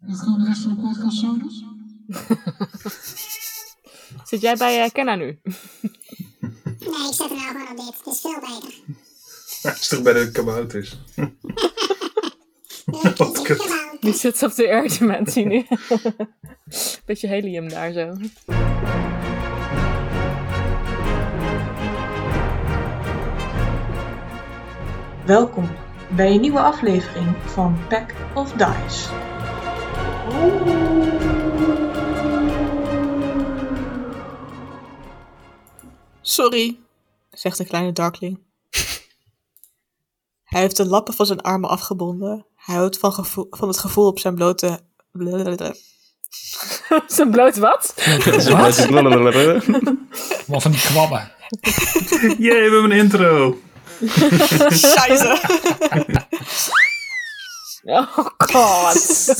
Dat kan de rest van de podcast zo dus. Zit jij bij eh, Kenna nu? Nee, ik zet er nou gewoon op dit. Het is veel beter. Hij is toch bij de kabouters. Wat kut. Die zit op de air dimensie nu. Beetje helium daar zo. Welkom bij een nieuwe aflevering van Pack of Dice. Sorry, zegt de kleine darkling. Hij heeft de lappen van zijn armen afgebonden. Hij houdt van, gevo- van het gevoel op zijn blote... blablabla. Zijn bloot wat? Wat? Wat van die kwabben. Jee, we hebben een intro. Scheisse! Oh god.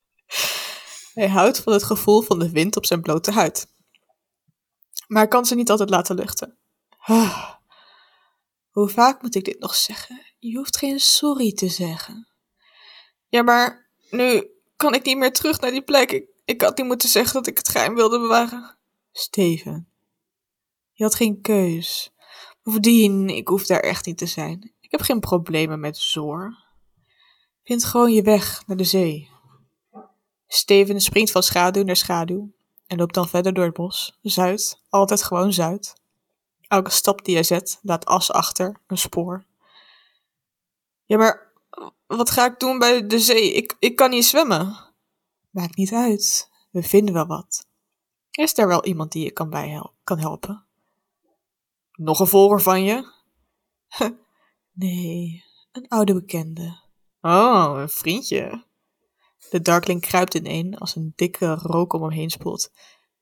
Hij houdt van het gevoel van de wind op zijn blote huid. Maar hij kan ze niet altijd laten luchten. Ah. Hoe vaak moet ik dit nog zeggen? Je hoeft geen sorry te zeggen. Ja, maar nu kan ik niet meer terug naar die plek. Ik, ik had niet moeten zeggen dat ik het geheim wilde bewaren. Steven, je had geen keus. Bovendien, ik hoef daar echt niet te zijn. Ik heb geen problemen met Zoor. Vind gewoon je weg naar de zee. Steven springt van schaduw naar schaduw en loopt dan verder door het bos. Zuid, altijd gewoon zuid. Elke stap die hij zet laat as achter, een spoor. Ja, maar wat ga ik doen bij de zee? Ik, ik kan niet zwemmen. Maakt niet uit. We vinden wel wat. Is er wel iemand die je kan, bij hel- kan helpen? Nog een volger van je? nee, een oude bekende. Oh, een vriendje. De darkling kruipt ineen als een dikke rook om hem heen spoelt.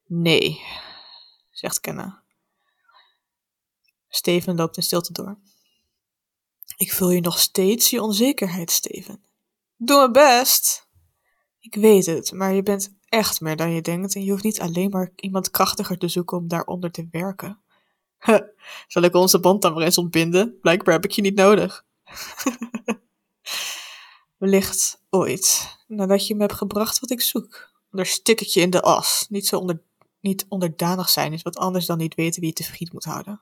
Nee, zegt Kenna. Steven loopt in stilte door. Ik voel je nog steeds je onzekerheid, Steven. Doe mijn best. Ik weet het, maar je bent echt meer dan je denkt en je hoeft niet alleen maar iemand krachtiger te zoeken om daaronder te werken. Huh, zal ik onze band dan maar eens ontbinden? Blijkbaar heb ik je niet nodig. Wellicht ooit, nadat je me hebt gebracht wat ik zoek. Daar stik ik je in de as. Niet zo onder, niet onderdanig zijn is wat anders dan niet weten wie je tevreden moet houden.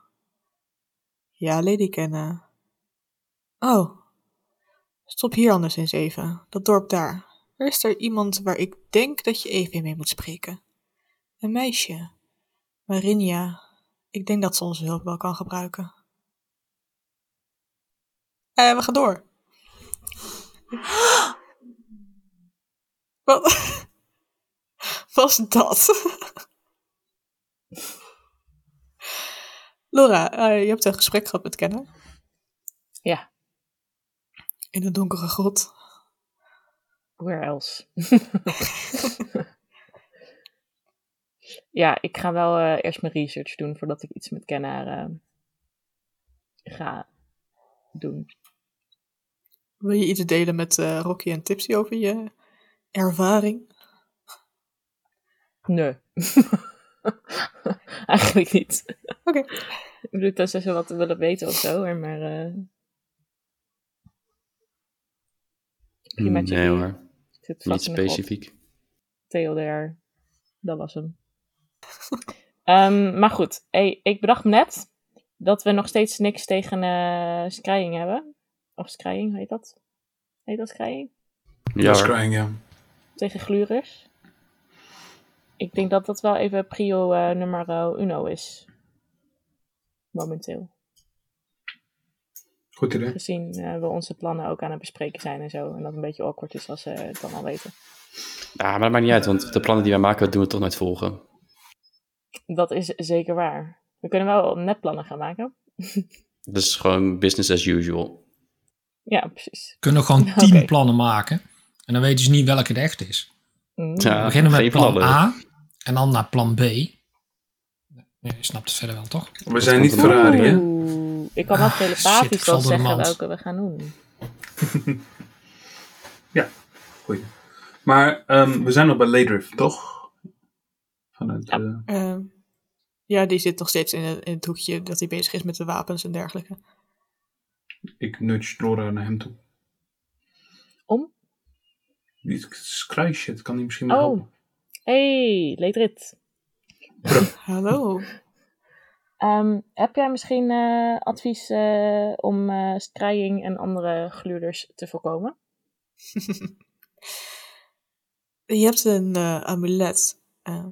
Ja, Lady Kenna. Oh. Stop hier anders eens even. Dat dorp daar. Er is daar iemand waar ik denk dat je even mee moet spreken. Een meisje. Marinja. Ik denk dat ze onze hulp wel kan gebruiken. En we gaan door. Wat was dat? Laura, eh, je hebt een gesprek gehad met Kenna. Ja. In een donkere grot. Where else? ja, ik ga wel eh, eerst mijn research doen voordat ik iets met Kenna eh, ga doen. Wil je iets delen met eh, Rocky en Tipsy over je ervaring? Nee. Eigenlijk niet. Oké. Ik bedoel, dat ze zo wat willen weten of zo, hè, maar... eh, primaatje Nee die hoor, zit niet vast in de grot. specifiek. TLDR. Dat was hem. Ehm, maar goed, hey, ik bedacht me net dat we nog steeds niks tegen eh skrying hebben. Of skrying, heet dat? Heet dat skrying? Ja was hoor. crying, ja. Tegen glurers. Ik denk dat dat wel even prio eh nummer uno is. Momenteel. Goed idee. Gezien eh, we onze plannen ook aan het bespreken zijn en zo. En dat een beetje awkward is als ze het dan al weten. Ja, maar dat maakt niet uit, want de plannen die wij maken, dat doen we toch nooit volgen. Dat is zeker waar. We kunnen wel netplannen gaan maken. Dat is gewoon business as usual. Ja, precies. Kunnen we gewoon Oké. tien plannen maken. En dan weten ze niet welke het echt is. Mm. Ja, We beginnen met geen plan plannen. A. En dan naar plan B. Nee, je snapt het verder wel, toch? We zijn niet Oeh. Ferrari, eh? hè? Oeh, ik kan wel Ah, shit, ik telepathisch val wel door de zeggen mand. welke we gaan doen. Goeie. Maar ehm, we zijn nog bij Ladriff, toch? Vanuit, Ja. eh, Ehm, ja, die zit nog steeds in het, in het hoekje dat hij bezig is met de wapens en dergelijke. ik nudge Laura naar hem toe. Om? Die Scry shit kan die misschien wel Oh. helpen. Hey, Leedrit. Hallo. Ehm, heb jij misschien eh, advies eh, om eh scrying en andere gluurders te voorkomen? Je hebt een eh, amulet eh,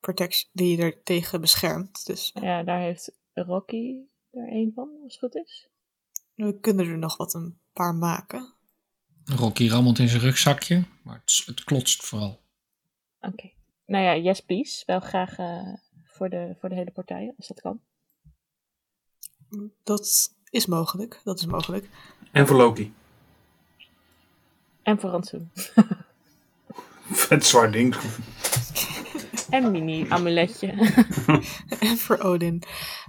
protection, die je er tegen beschermt. Dus Ja, daar heeft Rocky er een van, als het goed is. we kunnen er nog wat een paar maken. Rocky rammelt in zijn rugzakje, maar het, s- het klotst vooral. Oké. Nou ja, yes please. Wel graag eh, voor, de, voor de hele partij, als dat kan. Dat is mogelijk. Dat is mogelijk. En voor Loki. En voor Rantsoen. Vet zwaar ding. En mini amuletje. En voor Odin.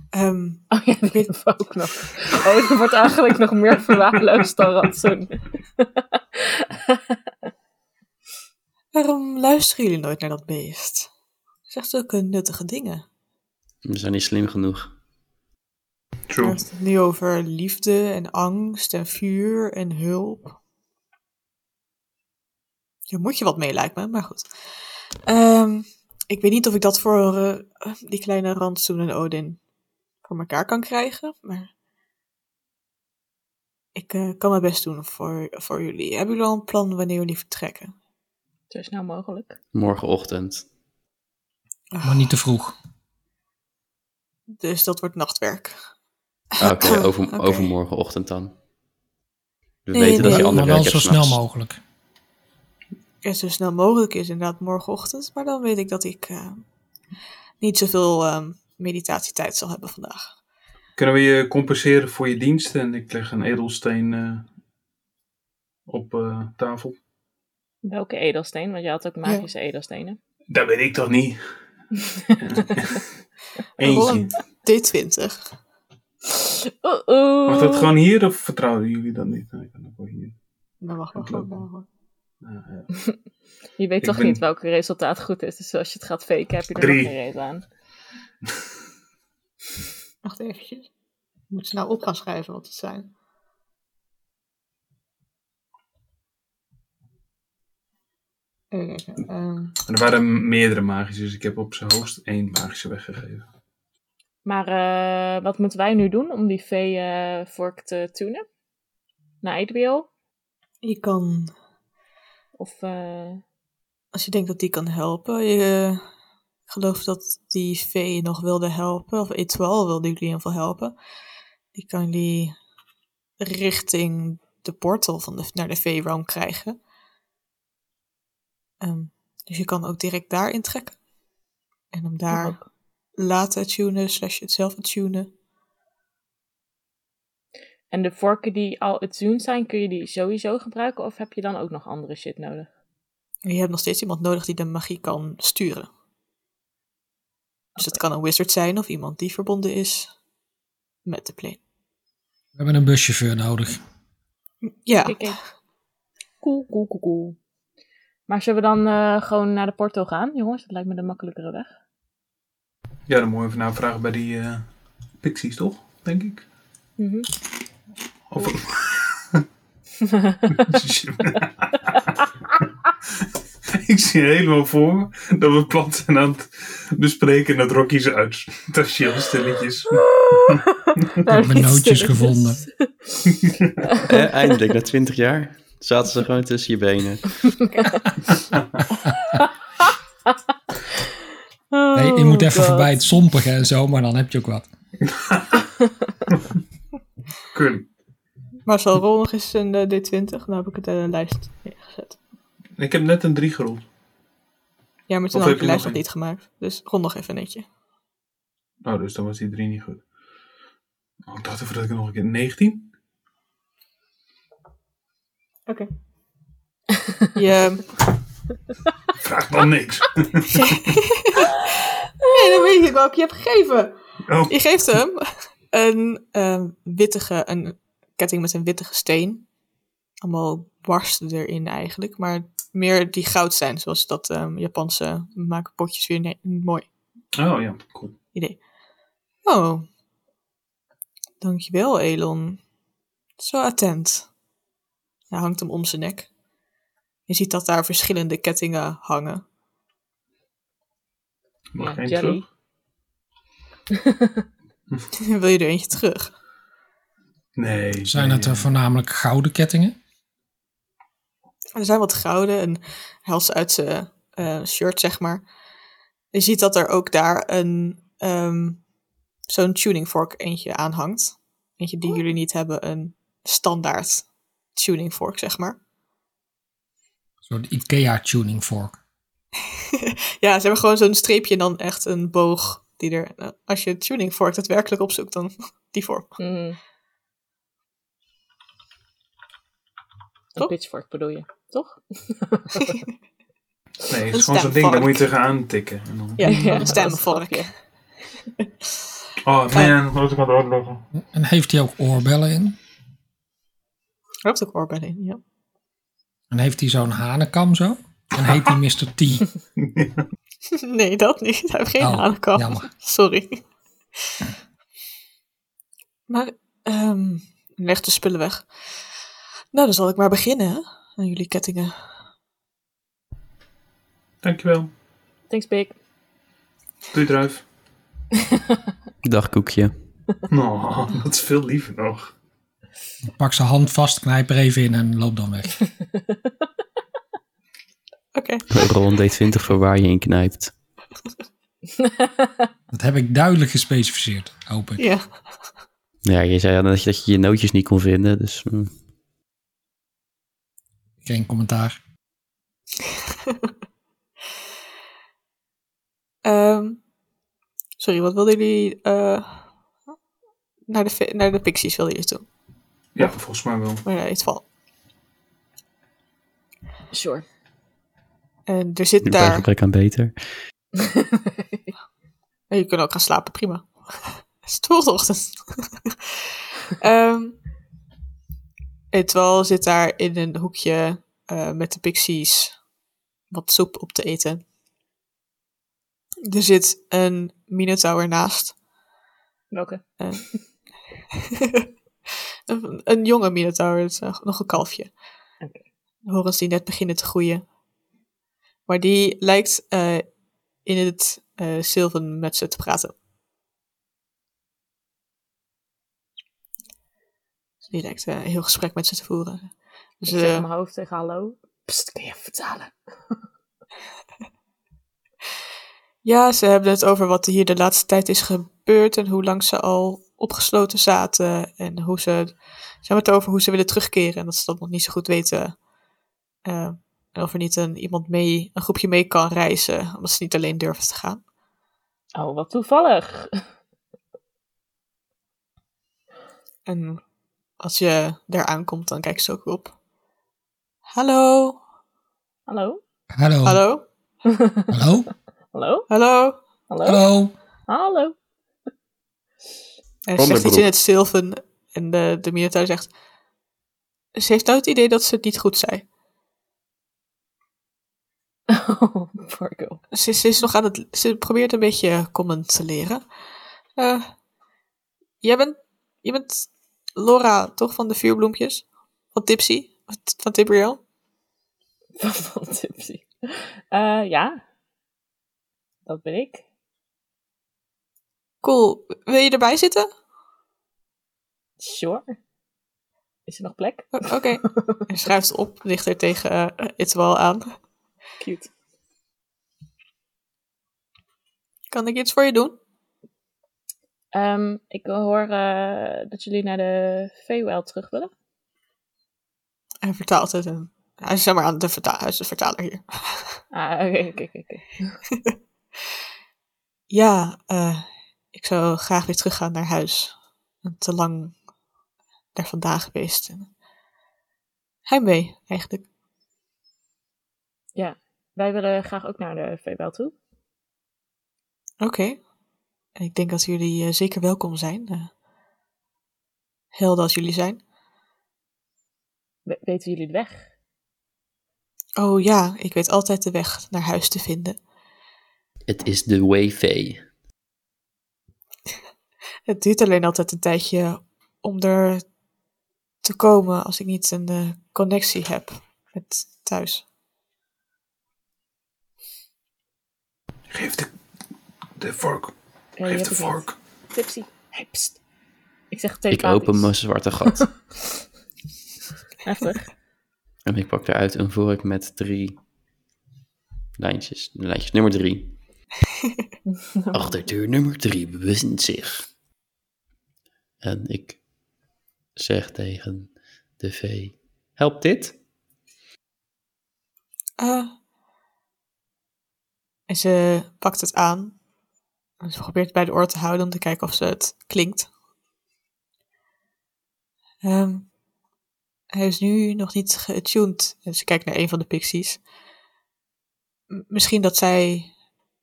Ehm, Oh ja, die hebben we ook nog. Oh, die wordt eigenlijk nog meer verwaarloosd dan Rantsoen. waarom luisteren jullie nooit naar dat beest? Zegt ook nuttige dingen. We zijn niet slim genoeg. Hij True. heeft het nu over liefde en angst en vuur en hulp. Daar moet je wat mee, lijkt me, maar goed. Ehm, ik weet niet of ik dat voor eh, die kleine rantsoen en Odin voor elkaar kan krijgen, maar ik eh, kan mijn best doen voor, voor jullie. Hebben jullie al een plan wanneer jullie vertrekken? Zo snel mogelijk. Morgenochtend. Maar niet te vroeg. Dus dat wordt nachtwerk. Ah, Oké, over, Oké. overmorgenochtend dan. We Nee, weten nee. dat je Maar ander wel werk hebt zo snel s'nachts. mogelijk. Ja, zo snel mogelijk is inderdaad morgenochtend. Maar dan weet ik dat ik eh, niet zoveel ehm, meditatietijd zal hebben vandaag. Kunnen we je compenseren voor je diensten? En ik leg een edelsteen eh, op eh, tafel. Welke edelsteen? Want je had ook magische edelstenen. Dat weet ik toch niet? Rol een Eentje. D20. Oeh, oeh. Mag dat gewoon hier of vertrouwen jullie dat niet? Nou, ik kan ook wel hier. Dan mag wel Dat lukt gewoon. eh, Nou, ja. Je weet Ik toch ben- niet welk resultaat goed is. Dus als je het gaat faken, heb je er Drie. nog geen reet aan. Wacht eventjes. Ik moet ze nou op gaan schrijven wat het zijn. Even kijken, ehm, Er waren meerdere magische, dus ik heb op zijn hoogst één magische weggegeven. Maar eh, wat moeten wij nu doen om die vee eh vork te tunen? Naar Adriel? je kan, Of eh, als je denkt dat die kan helpen, je ik geloof dat die vee je nog wilde helpen, of Etoile wilde jullie in ieder geval helpen. Die kan jullie richting de portal van de, naar de vee realm krijgen. Ehm, dus je kan ook direct daar intrekken. En hem daar ook. laten tunen, slash het zelf tunen. En de vorken die al attuned zijn, kun je die sowieso gebruiken? Of heb je dan ook nog andere shit nodig? En je hebt nog steeds iemand nodig die de magie kan sturen. Dus dat kan een wizard zijn of iemand die verbonden is met de plane. We hebben een buschauffeur nodig. Ja, Kijk, kijk. Cool, cool, cool, cool. Maar zullen we dan eh, gewoon naar de porto gaan, jongens? Dat lijkt me de makkelijkere weg. Ja, dan moet je even navragen bij die eh, pixies, toch? Denk ik. Mhm. Of... ik zie helemaal voor me dat we plat zijn aan het bespreken en dat Rocky ze uit tasje stilletjes. heb mijn nootjes gevonden. Eh, eindelijk, na 20 jaar, zaten ze gewoon tussen je benen. Nee, Oh, je moet even voorbij het sompige en zo, maar dan heb je ook wat. Kun. maar zal rol nog eens een eh, D20? Nou heb ik het in de lijst neergezet. Ik heb net een 3 gerold. Ja, maar toen Of had heb ik de je nog lijst nog één? niet gemaakt. Dus rol nog even netje. Nou, dus dan was die 3 niet goed. Oh, ik dacht even dat ik nog een keer 19. Oké. Je... ehm, Vraag dan niks. Nee, dat weet ik welke je hebt gegeven. Oh, Je geeft hem een ehm, wittige, een ketting met een wittige steen. Allemaal barsten erin eigenlijk, maar meer die goud zijn, zoals dat ehm, Japanse maken potjes weer nee, mooi. oh ja, cool. Oh, dankjewel Elon. Zo attent. Hij hangt hem om zijn nek. Je ziet dat daar verschillende kettingen hangen. Mag ik Ja, één jelly. terug? Wil je er eentje terug? Nee. Zijn nee, het er voornamelijk gouden kettingen? Er zijn wat gouden en hals uit zijn eh, shirt, zeg maar. Je ziet dat er ook daar een ehm, zo'n tuning fork eentje aan hangt. Eentje die jullie niet hebben, een standaard tuning fork, zeg maar. Een soort IKEA tuning fork. Ja, ze hebben gewoon zo'n streepje en dan echt een boog die er. nou, als je tuning fork daadwerkelijk opzoekt, dan die vorm. Mhm. Een Toch? pitchfork bedoel je, toch? Nee, het Een is gewoon zo'n ding, stemvark. daar moet je tegenaan tikken. En dan- Ja, Ja, een dat stemvork. grapje. Oh man, moet ik maar doorlopen. En heeft hij ook oorbellen in? Er hebt ook oorbellen in, ja. En heeft hij zo'n hanenkam zo? En heet hij Mr. T? Nee, dat niet. Hij heeft geen Oh, hanenkam. jammer. Sorry. Maar, ehm, leg de spullen weg. Nou, dan zal ik maar beginnen hè, aan jullie kettingen. Dankjewel. Thanks, Big. Doei, druif. Dag koekje. Oh, dat is veel liever nog. Pak zijn hand vast, knijp er even in en loop dan weg. Oké. Rol een D20 voor waar je in knijpt. Dat heb ik duidelijk gespecificeerd, hoop ik. Ja. Ja, je zei al dat je, dat je je nootjes niet kon vinden, dus... mm. Geen commentaar. Ehm, sorry, wat wilden jullie... eh, naar, de, fi- naar de pixies wilden jullie toe. Ja, volgens mij wel. Maar in ieder geval... Sure. En er zit Bij daar... gebrek aan beter. En je kunt ook gaan slapen, prima. Het is de volgende ochtend. Ehm, en terwijl zit daar in een hoekje eh, met de pixies wat soep op te eten. Er zit een minotaur naast. Welke? een, een jonge minotaur, dus nog nog een kalfje. Oké. Horens die net beginnen te groeien. Maar die lijkt eh, in het eh zilven met ze te praten. Dus die lijkt eh, een heel gesprek met ze te voeren. Dus, Ik zeg eh, mijn hoofd tegen hallo. Pst, kun je even vertalen? Ja, ze hebben het over wat hier de laatste tijd is gebeurd en hoe lang ze al opgesloten zaten. En hoe ze, ze hebben het over hoe ze willen terugkeren en dat ze dat nog niet zo goed weten. Eh, en of er niet een, iemand mee, een groepje mee kan reizen, omdat ze niet alleen durven te gaan. Oh, wat toevallig. En als je daar aankomt, dan kijken ze ook op. Hallo, Hallo? Hallo. hallo, Hallo? Hallo? hallo. Hallo? Hallo. Hallo? En ze zegt iets Onderbroek. in het zilven en de, de militair zegt... Ze heeft nou het idee dat ze het niet goed zei. Oh, poor girl. Dus Ze, ze is nog aan het. Ze probeert een beetje comment te leren. Eh, jij bent. Je bent Laura, toch? Van de vuurbloempjes? Van Tipsy? Van T- Van Tibriel? Van- Van Tipsy. Eh, ja. Dat ben ik. Cool. Wil je erbij zitten? Sure. Is er nog plek? O- Oké. Hij schuift op, ligt er tegen eh, Itwal aan. Cute. Kan ik iets voor je doen? Ehm, ik hoor eh, dat jullie naar de Feywild terug willen. Hij vertaalt het. En, hij is zeg maar aan de, verta- hij is de vertaler hier. Ah, oké, oké, oké, oké. Ja, eh, ik zou graag weer teruggaan naar huis. Ik ben te lang daar vandaan geweest. En Heimwee, eigenlijk. Wij willen graag ook naar de Feywild toe. Oké. En Ik denk dat jullie eh, zeker welkom zijn. eh. helden als jullie zijn. We- weten jullie de weg? Oh ja, ik weet altijd de weg naar huis te vinden. Het is de way Faye. Het duurt alleen altijd een tijdje om er te komen als ik niet een eh, connectie heb met thuis. Geef de, de vork. Ja, Geef hebt de het vork. niet. Tipsy. Hey, pst. Ik zeg Ik telepathisch. open mijn zwarte gat. Heftig. en ik pak eruit een vork met drie lijntjes. Lijntjes nummer drie. Achterdeur nummer drie bewint zich. En ik zeg tegen de vee, help dit? Eh. en ze pakt het aan. En ze probeert het bij de oor te houden om te kijken of ze het klinkt. Ehm, hij is nu nog niet getuned. En ze kijkt naar een van de pixies. M- misschien dat zij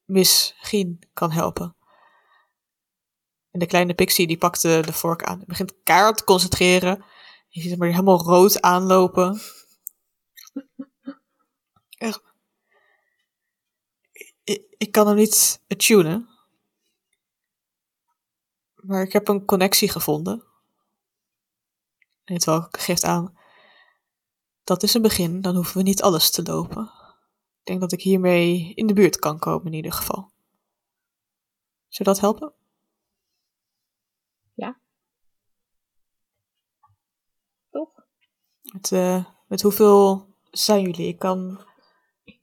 misschien kan helpen. En de kleine pixie die pakt de, de vork aan. Hij begint keihard te concentreren. Je ziet hem er helemaal rood aanlopen. ik, ik kan hem niet tunen. Maar ik heb een connectie gevonden. En terwijl ik geeft aan, dat is een begin, dan hoeven we niet alles te lopen. Ik denk dat ik hiermee in de buurt kan komen in ieder geval. Zou dat helpen? Toch? Met, eh, met hoeveel zijn jullie? Ik kan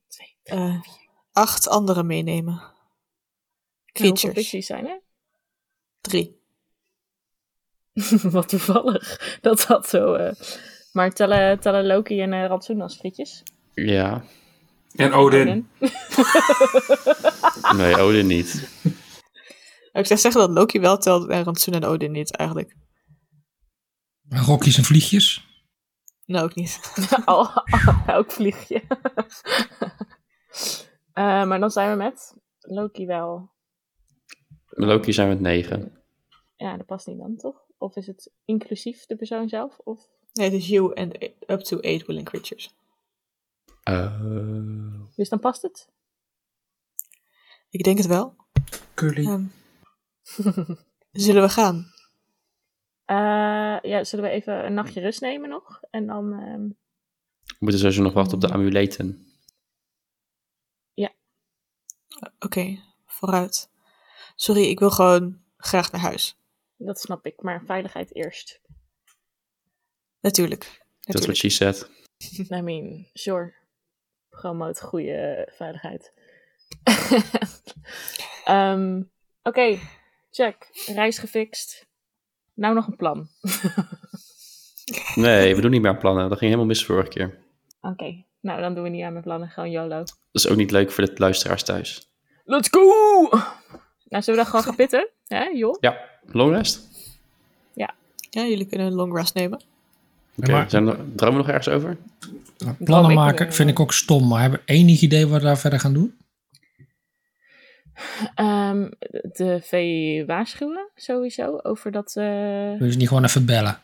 Twee. eh, acht anderen meenemen. Nou, hoeveel Creatures. pixies zijn er? Drie. Wat toevallig. Dat had zo... eh, Maar tellen, tellen Loki en eh, Rantsoen als frietjes. Ja, En Odin. nee, Odin niet. Ik zou zeggen dat Loki wel telt en Rantsoen en Odin niet eigenlijk. Rokjes en vliegjes. Nou, ook niet. Al, elk vliegje. Eh, maar dan zijn we met Loki wel. Loki zijn met negen. Ja, dat past niet dan, toch? Of is het inclusief de persoon zelf? Of... Nee, het is you and up to eight willing creatures. Eh, Dus dan past het. Ik denk het wel. Curly. Ehm, zullen we gaan? Eh, ja, zullen we even een nachtje rust nemen nog? En dan... ehm, we moeten sowieso nog wachten op de amuleten. Oké, vooruit. Sorry, ik wil gewoon graag naar huis. dat snap ik, maar veiligheid eerst. Natuurlijk. Dat is wat Natuurlijk. she said. I mean, sure. Promote goede veiligheid. Ehm, Oké, check. Reis gefixt. Nou nog een plan. Nee, we doen niet meer aan plannen. Dat ging helemaal mis vorige keer. Oké, nou dan doen we niet aan mijn plannen. Gewoon YOLO. Dat is ook niet leuk voor de luisteraars thuis. Let's go! Nou, zullen we dan gewoon gaan pitten? Hè, joh? Ja, long rest? Ja, jullie kunnen een long rest nemen. Oké, maar- zijn er, dromen we nog ergens over? Plannen ik maken weer. vind ik ook stom, maar hebben we enig idee wat we daar verder gaan doen? Ehm, de vee waarschuwen, sowieso, over dat... eh, Dus niet gewoon even bellen.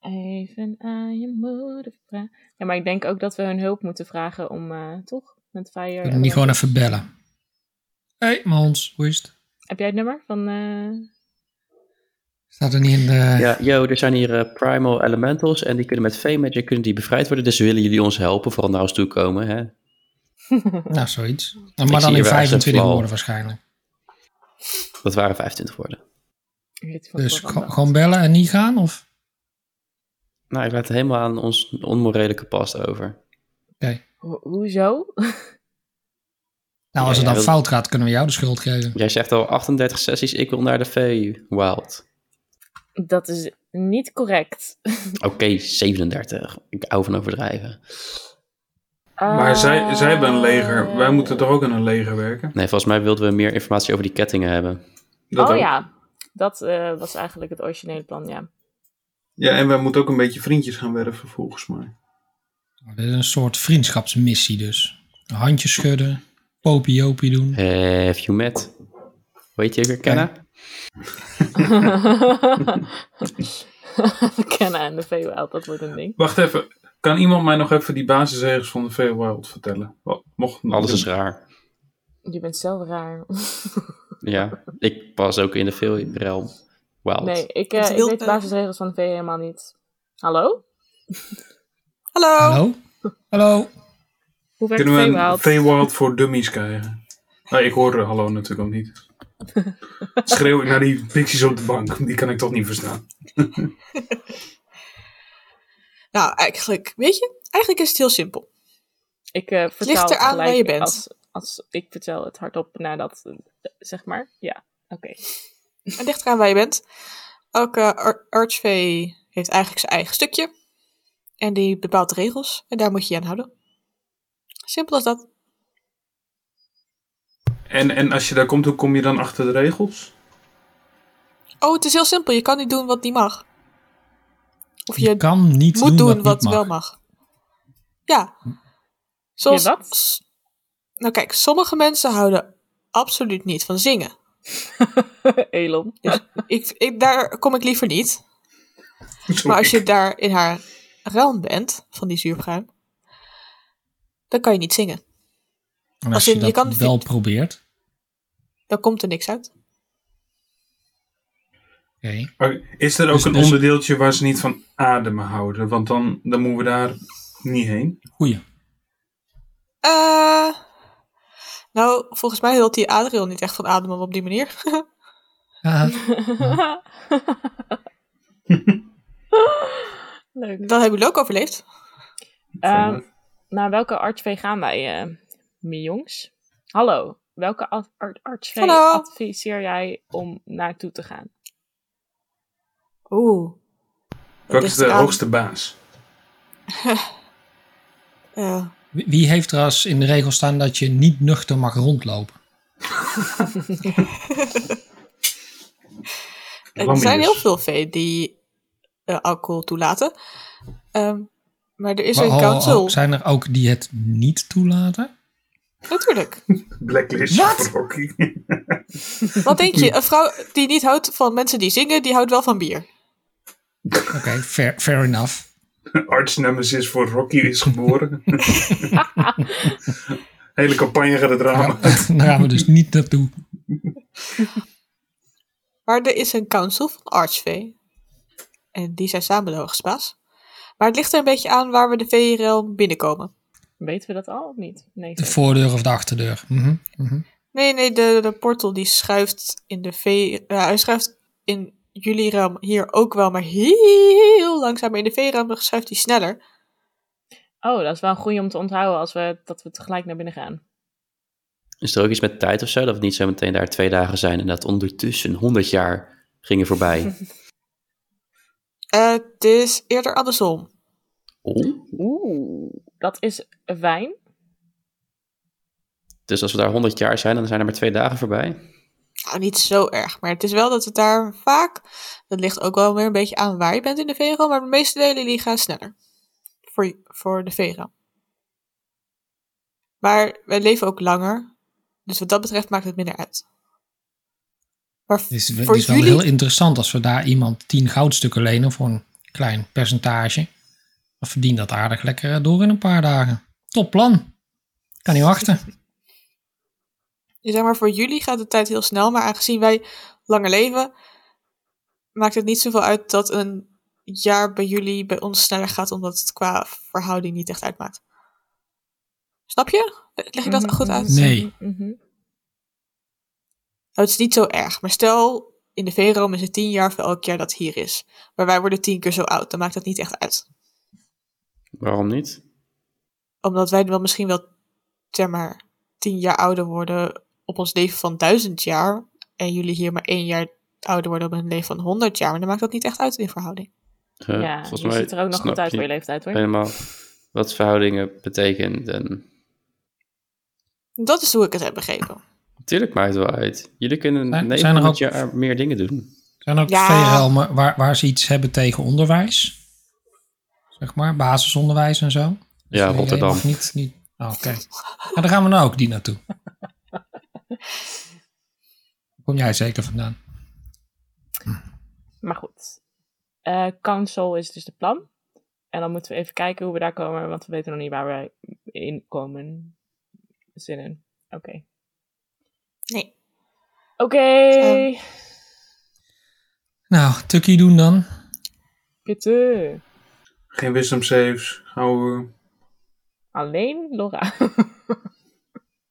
Even aan je moeder vragen. Ja, maar ik denk ook dat we hun hulp moeten vragen om, eh, toch? Met fire. Kunnen we niet gewoon even bellen. Hé, hey, Mons, hoe is het? Heb jij het nummer van... eh, Staat er niet in de... Ja, yo, er zijn hier eh, primal elementals en die kunnen met fey magic kunnen die bevrijd worden. Dus willen jullie ons helpen, vooral naar ons toe komen. Hè? Nou, zoiets. zie Maar dan hier in wel echt een 25 flauw. woorden waarschijnlijk. Dat waren 25 woorden. weet van Dus voor gewoon- wat? gewoon bellen en niet gaan? Of? Nou, ik laat het helemaal aan ons onmorele kapast over. Ho- hoezo? Nou, als Ja, het ja, dan dat- fout gaat, kunnen we jou de schuld geven. Jij zegt al 38 sessies, ik wil naar de fey wild. Dat is niet correct. Oké, 37. Ik hou van overdrijven. Maar zij, Eh, zij hebben een leger. Wij moeten toch ook in een leger werken? Nee, volgens mij wilden we meer informatie over die kettingen hebben. Dat oh ook. ja, dat eh, was eigenlijk het originele plan, ja. Ja, en wij moeten ook een beetje vriendjes gaan werven, volgens mij. Maar Dit is een soort vriendschapsmissie dus. Handjes schudden, popiopie doen. Have you met? Weet je weer kennen? Kenna en de VWL, dat wordt een ding. Wacht even. Kan iemand mij nog even die basisregels van de Feywild vertellen? Wel, Mocht Alles is raar. Je bent zelf raar. Ja, ik pas ook in de filmrealm. Wild. Nee, ik, eh, Het ik wild- weet de basisregels van de V helemaal niet. Hallo? Hallo! Hallo? Hallo? Hoe werkt Kunnen we de een VWL? Feywild voor dummies krijgen? Nou, ik hoor eh, hallo natuurlijk ook niet. Schreeuw ik naar die pixies op de bank. Die kan ik toch niet verstaan. Nou, eigenlijk, weet je, eigenlijk is het heel simpel. Ik eh vertaal ligt het eraan waar gelijk je bent. Als, als ik vertel het hardop nadat, eh, zeg maar. Ja, oké. Het ligt eraan waar je bent. Elke ar- archvee heeft eigenlijk zijn eigen stukje. En die bepaalt de regels. En daar moet je je aan houden. Simpel als dat. En, en als je daar komt, hoe kom je dan achter de regels? Oh, het is heel simpel. Je kan niet doen wat niet mag. Of Je je, kan niet moet doen, doen wat, wat niet wel mag. mag. Ja. Zoals, Ja, wat? s- Nou kijk, sommige mensen houden absoluut niet van zingen. Elon. Ik, ik, daar kom ik liever niet. Zo- Maar als je daar in haar ruim bent, van die zuurpruim, dan kan je niet zingen. En als Als je, in, je dat kan- wel probeert. Dan komt er niks uit. Oké. Maar Oh, Is er ook Dus- een dus- onderdeeltje waar ze niet van ademen houden? Want dan, dan moeten we daar niet heen. Goeie. Eh, nou, volgens mij hield die Adriel niet echt van ademen op die manier. Ah, Leuk. Dan hebben jullie ook overleefd. Ehm, naar welke artsvee gaan wij, eh mijn jongens? Hallo, welke ad- ar- artsvee Hallo. adviseer jij om naartoe te gaan? Oeh. Wat is ligt de eraan. hoogste baas? Eh, wie wie heeft trouwens in de regel staan dat je niet nuchter mag rondlopen? er Lambiers. zijn heel veel vee die eh, alcohol toelaten. Ehm, maar er is Maar een ho, ho, ho, council. zijn er ook die het niet toelaten? Natuurlijk. Blacklist Wat? voor hockey. Wat denk je? Een vrouw die niet houdt van mensen die zingen, die houdt wel van bier. Oké, fair, fair enough. Arch Nemesis voor Rocky is geboren. Hele campagne gaat het raam. Nou, daar gaan we dus niet naartoe. Maar er is een council van archvee. En die zijn samen de hoogste baas. Maar het ligt er een beetje aan waar we de VRL binnenkomen. Weten we dat al of niet? Nee, De zeker. voordeur of de achterdeur. Mhm, mhm. Nee, nee, de, de portal die schuift in de V. eh, hij schuift in jullie ruim hier ook wel, maar heel langzaam. Maar in de V-ruim schuift hij sneller. oh, dat is wel een goeie om te onthouden als we, dat we tegelijk naar binnen gaan. Is er ook iets met tijd of zo? Dat we niet zo meteen daar twee dagen zijn en dat ondertussen 100 jaar gingen voorbij. Eh, het is eerder andersom. Oh. Oeh, dat is wijn. Dus als we daar 100 jaar zijn, dan zijn er maar twee dagen voorbij. Nou, niet zo erg, maar het is wel dat het daar vaak. Dat ligt ook wel weer een beetje aan waar je bent in de V-ruim, maar de meeste delen die gaan sneller. Voor, voor de V-ruim. Maar wij leven ook langer. Dus wat dat betreft maakt het minder uit. Maar Het is, het voor is wel jullie heel interessant als we daar iemand tien goudstukken lenen voor een klein percentage. Dan verdient dat aardig lekker eh, door in een paar dagen. Top plan. Kan niet wachten. Je zeg maar, voor jullie gaat de tijd heel snel, maar aangezien wij langer leven, maakt het niet zoveel uit dat een jaar bij jullie bij ons sneller gaat, omdat het qua verhouding niet echt uitmaakt. Snap je? Leg ik dat Mhm, goed uit? mhm, Nee. mhm. Nou, het is niet zo erg, maar stel, in de V-room is het tien jaar voor elk jaar dat het hier is. Maar wij worden tien keer zo oud, dan maakt dat niet echt uit. Waarom niet? Omdat wij wel misschien wel, zeg maar, tien jaar ouder worden op ons leven van duizend jaar. En jullie hier maar één jaar ouder worden op een leven van honderd jaar. Maar dan maakt dat niet echt uit in verhouding. Eh, ja, volgens je mij ziet er ook nog snap goed uit je voor je leeftijd hoor. Helemaal wat verhoudingen betekent. En Dat is hoe ik het heb begrepen. natuurlijk maakt het wel uit. Jullie kunnen Zijn- zijn 900 er ook- jaar meer dingen doen. Zijn ook Ja. veel helmen waar, waar ze iets hebben tegen onderwijs? Zeg maar, basisonderwijs en zo. Dus Ja, je- je Rotterdam. mag Niet, niet, oh, Oké. Nou, daar gaan we nou ook die naartoe. Kom jij zeker vandaan? Maar goed. Eh, council is dus de plan. En dan moeten we even kijken hoe we daar komen, want we weten nog niet waar wij in komen. Zin in. Oké. Nee. Oké. Ehm. Nou, tukkie doen dan. Kutte. Geen wisdom saves. Houden. Alleen Laura.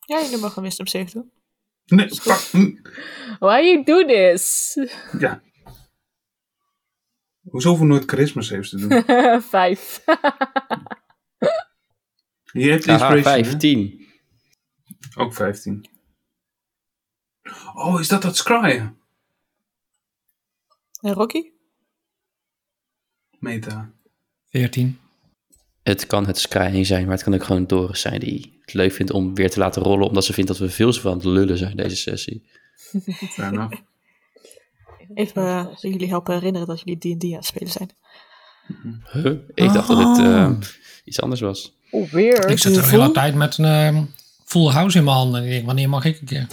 Ja, jullie mogen een wisdom save doen. Nee, pak. mm. Why you do this? Ja. Hoezo voor nooit Christmas heeft te doen? Vijf. Je hebt Haha, inspiration. hè? 15. Ook 15. Oh, is dat dat scryen? En Eh, Rocky? Meta. 14. Het kan het Skyeng zijn, maar het kan ook gewoon Doris zijn die het leuk vindt om weer te laten rollen, omdat ze vindt dat we veel te veel aan het lullen zijn deze sessie. Fair enough. Even eh, jullie helpen herinneren dat jullie D&D aan het spelen zijn. Huh? Ik dacht dat het Oh. eh, iets anders was. Oh, weird. Ik zit de hele tijd met een ehm, full house in mijn handen. Ik denk, wanneer mag ik een keer?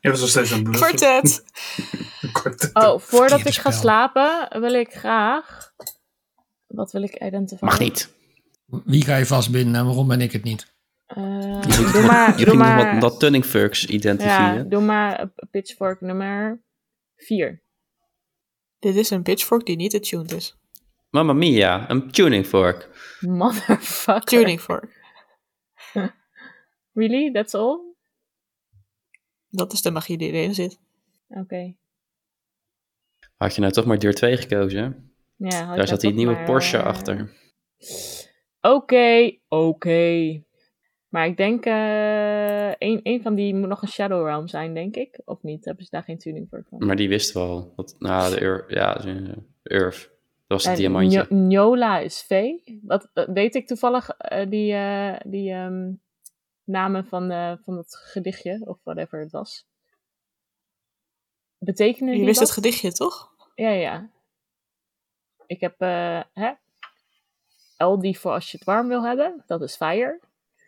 Je was nog steeds aan het bluffen. Quartet! Quartet. Oh, voordat Verkeerde ik ga spel. slapen wil ik graag... Wat wil ik identifieren? Mag niet. Wie ga je vastbinden en waarom ben ik het niet? Eh, Je moet doe maar, je doe moet nog maar, wat, dat Tunningforks ja, identificeren. doe maar eh, pitchfork nummer 4. Dit is een pitchfork die niet attuned is. Mamma mia, een tuning fork. Motherfucker. Tuning fork. Really? That's all? Dat is de magie die erin zit. Oké. Had je nou toch maar deur 2 gekozen? hè? Ja, had Oh, ik Daar dat zat die ook nieuwe maar, Porsche eh, achter. Oké, oké. Maar ik denk, eh een, een van die moet nog een Shadow Realm zijn, denk ik. Of niet? Hebben ze daar geen tuning voor? Van? Maar die wisten we al. Dat, nou, de Ur- ja, de Urf. Dat was het En diamantje. Njo- Njola is vee. Wat eh, weet ik toevallig eh, die, eh, die ehm, namen van, eh, van het gedichtje, of whatever het was. Betekenen Je die wist wat? het gedichtje, toch? Ja, ja. Ik heb, eh hè? LD voor als je het warm wil hebben, dat is fire.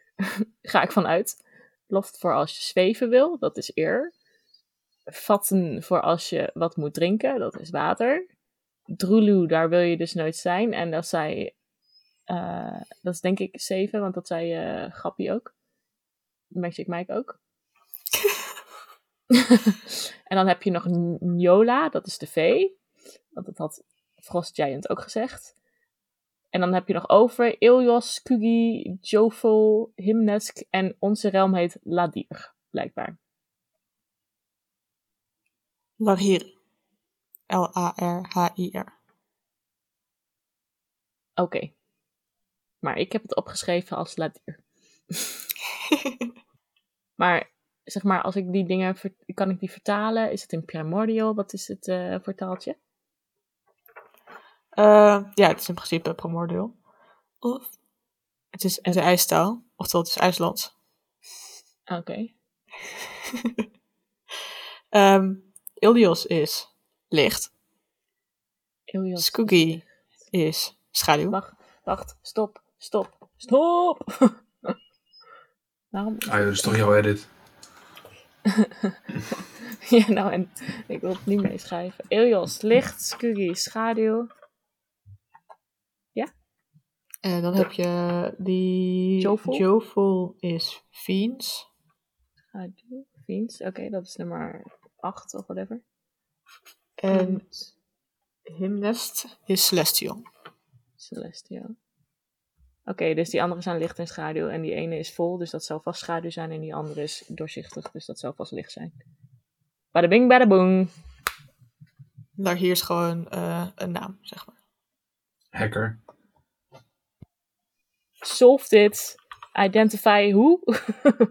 Ga ik vanuit. Loft voor als je zweven wil, dat is eer. Vatten voor als je wat moet drinken, dat is water. Drulu, daar wil je dus nooit zijn. En dat zei, eh, dat is denk ik zeven, want dat zei eh Grappie ook. Magic Mike ook. en dan heb je nog N- Njola, dat is de vee. Want dat had Frost Giant ook gezegd. En dan heb je nog over Ilyos, Kugi, Joful, Himnesk en onze realm heet Ladir, blijkbaar. Larhir. L-A-R-H-I-R. Oké. Maar ik heb het opgeschreven als Ladir. Maar zeg maar, als ik die dingen, ver- kan ik die vertalen? Is het in primordial? Wat is het eh, voor taaltje? Eh, ja, het is in principe primordial. Of? Het is de ijstaal. Oftewel, het is IJslands. Oké. Ehm Ilios is licht. Ilyos. Skoogie is schaduw. Wacht, wacht, stop, stop, stop! Waarom? Ah, joh, dat is toch jouw edit? Ja, nou en ik wil het niet meeschrijven. Elios, licht, Skuggy, schaduw, En Eh, dan heb je die... Jovol? Jovol is fiends. schaduw, fiends. Oké, dat is nummer 8 of whatever. Ehm, En hymnest is celestial. Celestial. Oké, dus die andere zijn licht en schaduw. En die ene is vol, dus dat zal vast schaduw zijn. En die andere is doorzichtig, dus dat zal vast licht zijn. Bada bing, bada boom. Larhir is gewoon eh, een naam, zeg maar. Hacker. Solved it. Identify hoe. Oké.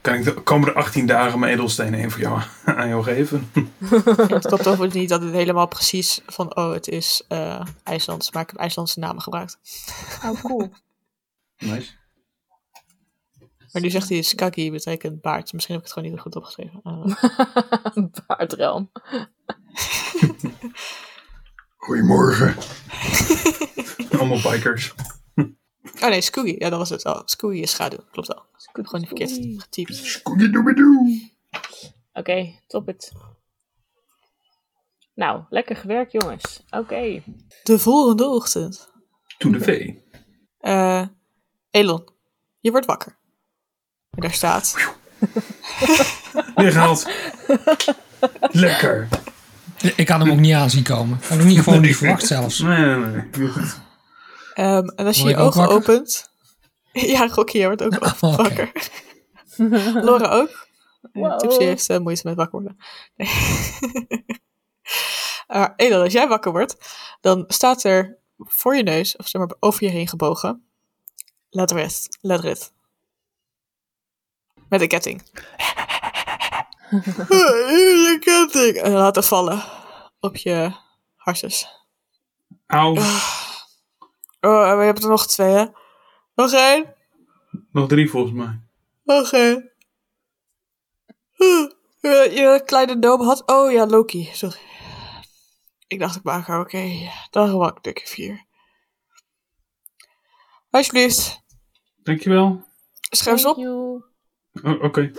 Kan ik de komende 18 dagen mijn edelstenen één voor jou aan jou geven? En het klopt overigens niet dat het helemaal precies van... Oh, het is eh, IJslands, maar ik heb IJslandse namen gebruikt. Oh, cool. Nice. Maar nu zegt hij skagi betekent baard. Misschien heb ik het gewoon niet goed opgeschreven. Eh, Baardrelm. Goedemorgen. Allemaal bikers. Oh nee, Scoogie. Ja, dat was het al. Scoogie is schaduw. Klopt al. Ik heb gewoon niet Scoogie. verkeerd getypt. Skoegedoebedoe. Oké, top het. Nou, lekker gewerkt, jongens. Oké. De volgende ochtend. To the V. Eh, Elon, je wordt wakker. En daar staat... Neergehaald. Lekker. Ik had hem ook niet aan zien komen. Ik had hem niet gewoon Nee. niet verwacht zelfs. Nee, nee, nee. ehm, en als je Word je je ook ogen wakker? Oh, opent... Ja, Rocky wordt ook wel Oké. wakker. Laura ook. Wow. Wow. Tipsy heeft eh, moeite met wakker worden. Nee. Eh, Edo, als jij wakker wordt, dan staat er voor je neus, of zeg maar over je heen gebogen, let rest, let rit. Met een ketting. Een ketting! En laten vallen op je harses. Auw, Oh, en we hebben er nog twee, hè? Nog één? nog drie volgens mij. Oké. Huh, Je, je kleine noom had. Oh ja, Loki. Sorry. Ik dacht, ik maak haar. Oké, dan gewoon ik vier. Alsjeblieft, Dankjewel. schrijf ze Thank op. you. Oh, Oké.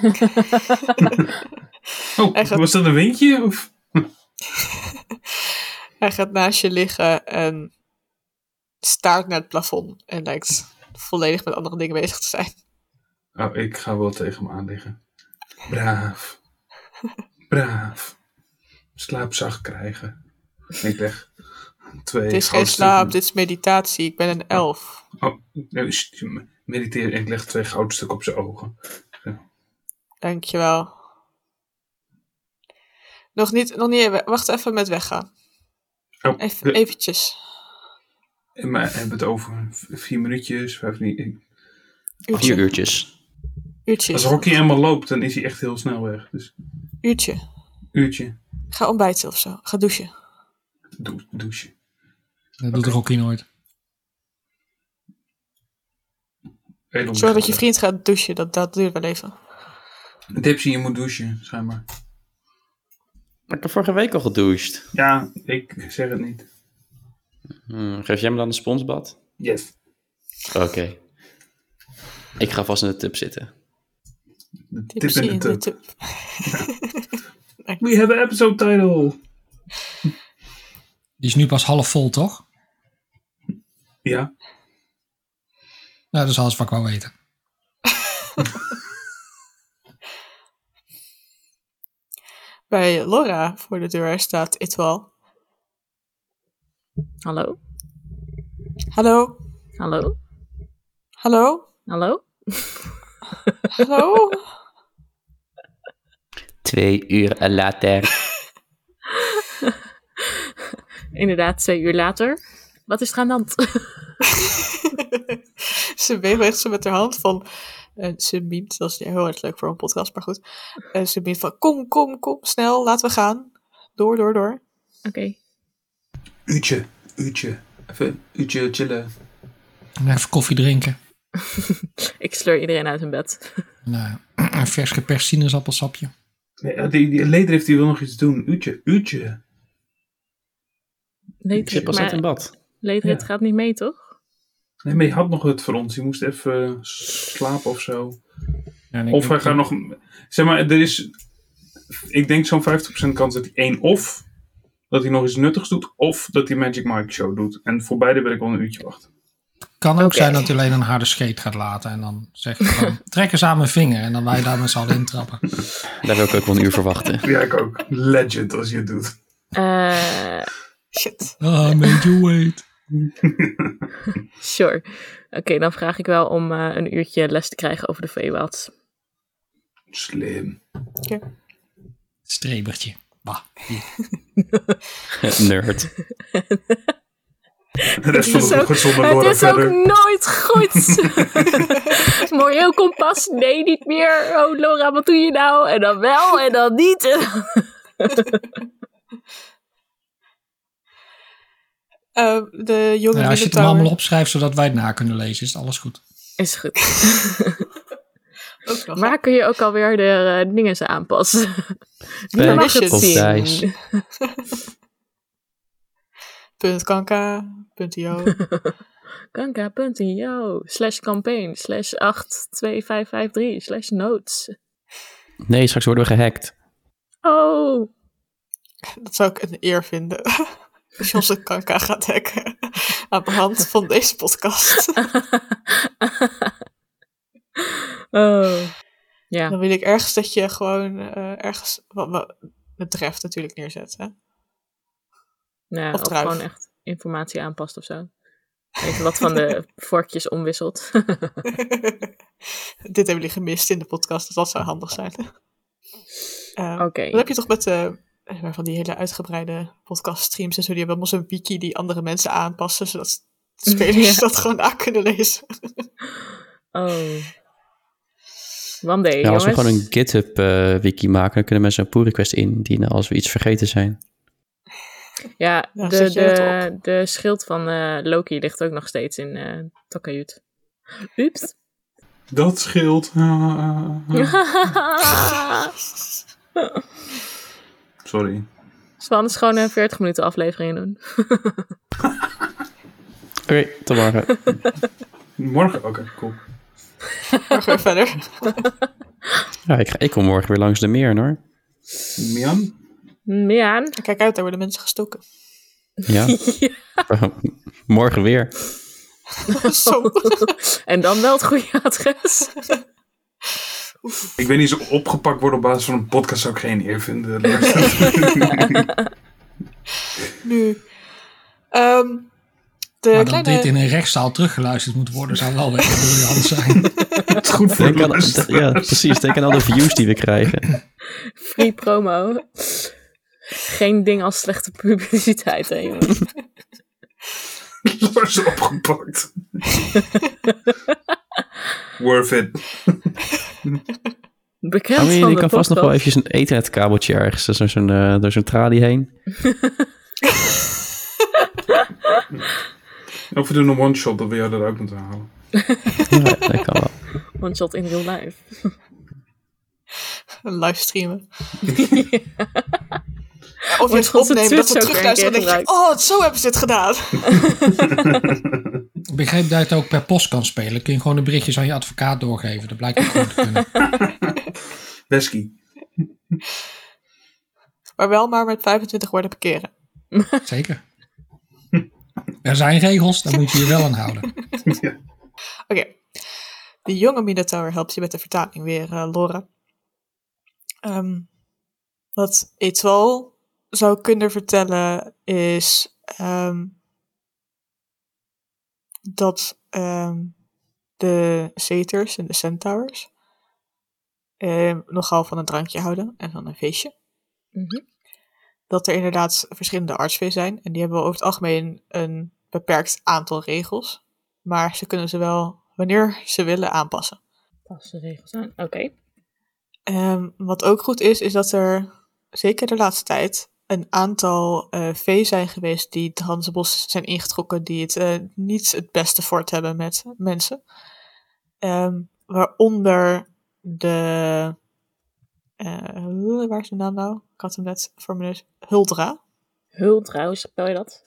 oh, Echt? was dat een windje? Of? Hij gaat naast je liggen en staart naar het plafond. En lijkt volledig met andere dingen bezig te zijn. Oh, ik ga wel tegen hem aan liggen. Braaf. Braaf. Slaap zacht krijgen. Ik leg twee Het is geen goudstukken- slaap, dit is meditatie. Ik ben een elf. Oh, nee, sst, mediteer. Ik leg twee goudstukken op zijn ogen. Dankjewel. Nog niet, nog niet. Wacht even met weggaan. Oh, Even, de- eventjes. Maar hebben we het over v- vier minuutjes? Vijf, niet, ik- Vier Uurtje. uurtjes. Uurtje. als Rocky helemaal loopt, dan is hij echt heel snel weg. Dus Uurtje. uurtje, Ga ontbijten of zo. Ga douchen. dou- douche. Dat doet Rocky nooit. Elon Zorg dat gaat je weg. vriend gaat douchen. Dat, dat duurt wel even. Dipsy, je moet douchen, schijnbaar. Maar ik heb vorige week al gedoucht. Ja, ik zeg het niet. Hmm, geef jij me dan een sponsbad? Yes. Oké. Ik ga vast in de tub zitten. De tip Tipsy in in de de tub. tub. We have an episode title. Die is nu pas half vol, toch? Ja, Nou, dat is alles wat ik wou weten. Bij Laura voor de deur staat Itwal. Hallo? Hallo? Hallo? Hallo? Hallo? Hallo? Twee uur later. Inderdaad, twee uur later. Wat is er aan de hand? ze beweegt ze met haar hand van... En ze miemt, dat is niet heel erg leuk voor een podcast, maar goed. En ze miemt van, kom, kom, kom, snel, laten we gaan. Door, door, door. Oké. uurtje, uurtje. Even uurtje chillen. En even koffie drinken. Ik sleur iedereen uit hun bed. Nou, een vers geperst sinaasappelsapje. Nee, eh, die, die leedrift die wil nog iets doen. Uurtje, uurtje. Ik zit Leedrit, pas net in maar bad. leedrit Ja. gaat niet mee, toch? Nee, maar je had nog het voor ons. Je moest even eh, slapen of zo. Ja, en ik Of denk hij gaat nog. Zeg maar, er is. Ik denk zo'n 50% kans dat hij één of. Dat hij nog iets nuttigs doet. Of dat hij Magic Mike Show doet. En voor beide wil ik wel een uurtje wachten. Het kan ook Oké. zijn dat hij alleen een harde scheet gaat laten. En dan zegt hij van, trek eens aan mijn vinger. En dan wij daar met z'n allen intrappen. Daar wil ik ook wel een uur voor wachten. Ja, ik ook. Legend als je het doet. Eh, Shit. Ah, made you wait. sure. Oké, dan vraag ik wel om eh, een uurtje les te krijgen over de Veewilds. Slim. Strebertje. Bah. Nerd. De rest Het van is de ook- ochtend zonder Het Laura is ook verder. nooit goed. Moreel kompas, nee, niet meer. Oh, Laura, wat doe je nou? En dan wel, en dan niet. Eh, de jonge Nou, als je het hem Minotaur- allemaal opschrijft, zodat wij het na kunnen lezen, is alles goed. Is goed. Ook nog, Maar kun je ook alweer de eh, dingen ze aanpassen? Niemand mag het Of zien. thuis. Punt kanka, punt io. Kanka.io slash campaign slash 82553 slash notes. Nee, straks worden we gehackt. Oh, Dat zou ik een eer vinden. Als je onze kanka gaat hacken. Aan de hand van deze podcast. oh. Ja, Dan wil ik ergens dat je gewoon eh, ergens wat me betreft natuurlijk neerzet. Hè? nou, Of of druif. gewoon echt informatie aanpast of zo. Even wat van de vorkjes omwisselt. Dit hebben jullie gemist in de podcast, dus dat zou handig zijn. Ehm, Oké. Dat heb je toch met eh, van die hele uitgebreide podcaststreams en zo. Die hebben allemaal zo'n wiki die andere mensen aanpassen, zodat spelers Ja. dat gewoon na kunnen lezen. Oh. One day, Ja, Nou, als we jongens. gewoon een GitHub-wiki maken, dan kunnen mensen een pull request indienen als we iets vergeten zijn. Ja, Ja, de, zet je het de, de schild van eh, Loki ligt ook nog steeds in eh Takayut. Oeps. Dat scheelt. Ah, ah, ah. Sorry. Span is gewoon een 40 minuten aflevering doen. Oké, tot morgen. Morgen? Oké, cool. Maar gewoon verder. ja, ik, ga, ik kom morgen weer langs de meer, hoor. Mian? Mian. Kijk uit, daar worden mensen gestoken. Ja, morgen weer. zo. en dan wel het goede adres. Ik weet niet, zo opgepakt worden op basis van een podcast zou ik geen eer vinden. Luister. Nu. Ehm, de Maar dat dit kleine... in een rechtszaal teruggeluisterd moet worden, zou wel weer briljant zijn. Het is goed voor Denk de aan, ja, precies. Denk aan al de views die we krijgen. Free promo. Geen ding als slechte publiciteit, hè, jongens. Lars opgepakt. Worth it. Bekend Oh, van je de kan vast nog wel podcast. eventjes een ethernetkabeltje ergens door zo'n eh, door zo'n tralie heen. Of we doen een one-shot dat we jou dat ook moeten halen. Ja, dat kan wel. One shot in real life. een livestreamen. Of je Wordt het onze opneemt, dat Twitch het ook terugluistert en een keer denk je... Oh, zo hebben ze dit gedaan. Ik begreep dat je het ook per post kan spelen. Kun je gewoon de berichtjes aan je advocaat doorgeven. Dat blijkt ook gewoon te kunnen. Wesky. Maar wel maar met 25 woorden per keren. Zeker. Er zijn regels, daar moet je je wel aan houden. Oké. De jonge Minotaur helpt je met de vertaling weer, eh, Laura. Ehm, wat Etwal zou kunnen vertellen is ehm, dat ehm, de Zeters en de Centaurs ehm, nogal van een drankje houden en van een feestje Mhm. dat er inderdaad verschillende artsfeesten zijn. En die hebben over het algemeen een beperkt aantal regels. Maar ze kunnen ze wel wanneer ze willen aanpassen. Pas de regels aan. Oké. Ehm, wat ook goed is, is dat er zeker de laatste tijd een aantal eh vee zijn geweest die het Hanzebos zijn ingetrokken, die het eh, niet het beste voort hebben met mensen. Ehm, waaronder de. eh, waar is de naam nou? Ik had hem net voor mijn neus. Huldra. Hul trouwens, spel je dat?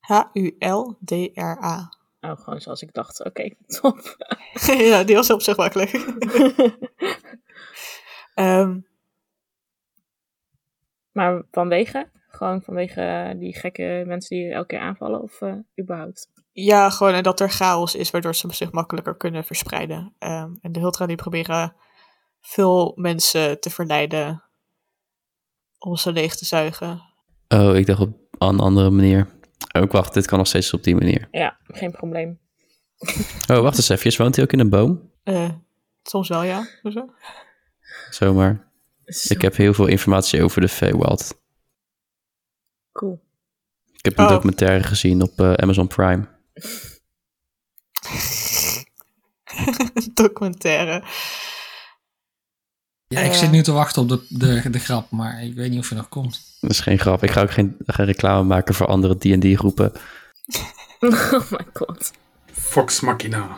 H-U-L-D-R-A. Oh, gewoon zoals ik dacht. Oké, top. ja, die was op zich makkelijk. Ehm, maar vanwege? Gewoon vanwege eh, die gekke mensen die je elke keer aanvallen? Of eh, überhaupt? ja, gewoon eh, dat er chaos is, waardoor ze zich makkelijker kunnen verspreiden. Ehm, en de Hultra die proberen veel mensen te verleiden om ze leeg te zuigen. Oh, ik dacht op aan een andere manier. Ook wacht, dit kan nog steeds op die manier. Ja, geen probleem. Oh, wacht eens even. Woont hij ook in een boom? Eh, soms wel, ja. Hoezo? Zomaar. Zo Ik heb heel veel informatie over de Feywild. cool. Ik heb een Oh. documentaire gezien op eh, Amazon Prime. Documentaire. Ja, ik zit nu te wachten op de, de, de grap, maar ik weet niet of er nog komt. Dat is geen grap. Ik ga ook geen, geen reclame maken voor andere D&D groepen. oh my god. Fox Machina.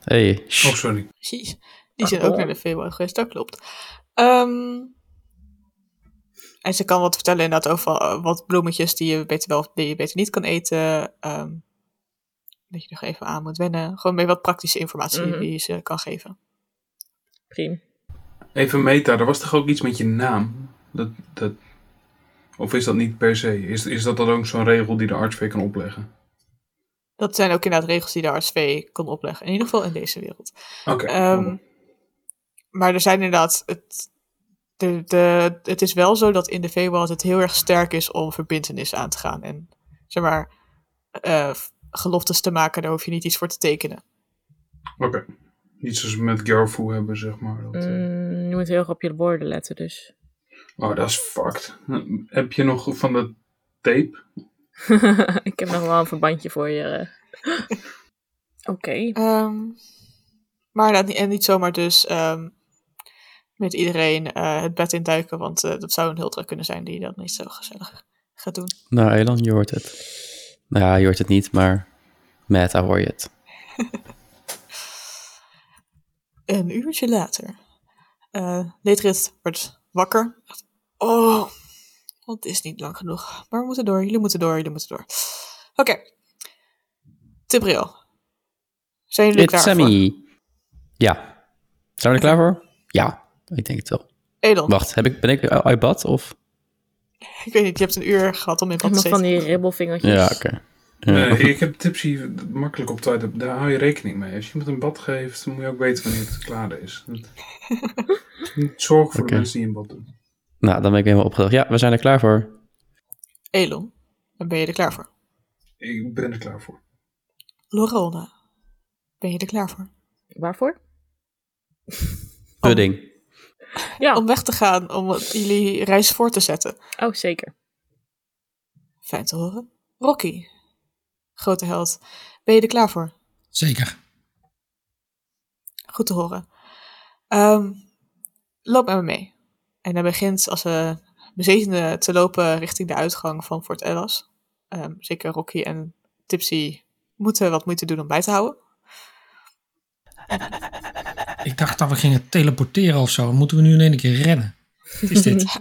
Hey, shh. Oh, sorry. Precies. Die Ah, zijn ook cool. naar de Feywild geweest, dat klopt. Ehm, en ze kan wat vertellen inderdaad over eh, wat bloemetjes die je beter wel of die je beter niet kan eten. ehm, dat je nog even aan moet wennen. Gewoon meer wat praktische informatie Mhm. die ze kan geven. Prima. Even meta, er was toch ook iets met je naam? Dat, dat... Of is dat niet per se? Is, is dat dan ook zo'n regel die de arts weer kan opleggen? Dat zijn ook inderdaad regels die de RSV kan opleggen. In ieder geval in deze wereld. Oké. Ehm, maar er zijn inderdaad. Het, de, de, het is wel zo dat in de Feywild het heel erg sterk is om verbintenis aan te gaan. En zeg maar. eh, geloftes te maken, daar hoef je niet iets voor te tekenen. Oké. Niet zoals we met Garfu hebben, zeg maar. Dat, eh, Mm, je moet heel erg op je woorden letten, dus. Oh, dat is fucked. Heb je nog van dat tape? ik heb nog wel een verbandje voor je. eh. Oké. Ehm, maar dat, en niet zomaar dus ehm, met iedereen eh, het bed induiken, want eh, dat zou een Hultra kunnen zijn die dat niet zo gezellig gaat doen. Nou, Elan, je hoort het. Nou ja, je hoort het niet, maar meta hoor je het. Een uurtje later. eh Leedrit wordt wakker. Oh, het is niet lang genoeg. Maar we moeten door, jullie moeten door, jullie moeten door. Oké. Tibriel. Zijn jullie er It's klaar voor? Sammy. Ja. Zijn we er klaar voor? Ja, ik denk het wel. Edel, Wacht, heb ik, ben ik eh, uit bad of? ik weet niet, je hebt een uur gehad om in Ik bad heb te nog van zitten. die ribbelvingertjes. Ja, oké. Ja. Nee, ik heb tipsy makkelijk op tijd. Daar hou je rekening mee. Als je iemand een bad geeft, dan moet je ook weten wanneer het klaar is. Dat- Niet zorgen voor Oké. de mensen die een bad doen. Nou, dan ben ik helemaal opgedacht. Ja, we zijn er klaar voor. Elon, dan ben je er klaar voor. Ik ben er klaar voor. Lorona, ben je er klaar voor? Waarvoor? Oh. Pudding. Ja. Om weg te gaan, om het- jullie reis voor te zetten. Oh, zeker. Fijn te horen. Rocky, grote held, ben je er klaar voor? Zeker. Goed te horen. Ehm, loop met me mee. En hij begint als een bezetene te lopen richting de uitgang van Fort Ellis. Ehm, zeker Rocky en Tipsy moeten wat moeite doen om bij te houden. Ik dacht dat we gingen teleporteren of zo. Moeten we nu in één keer rennen? Wat is dit?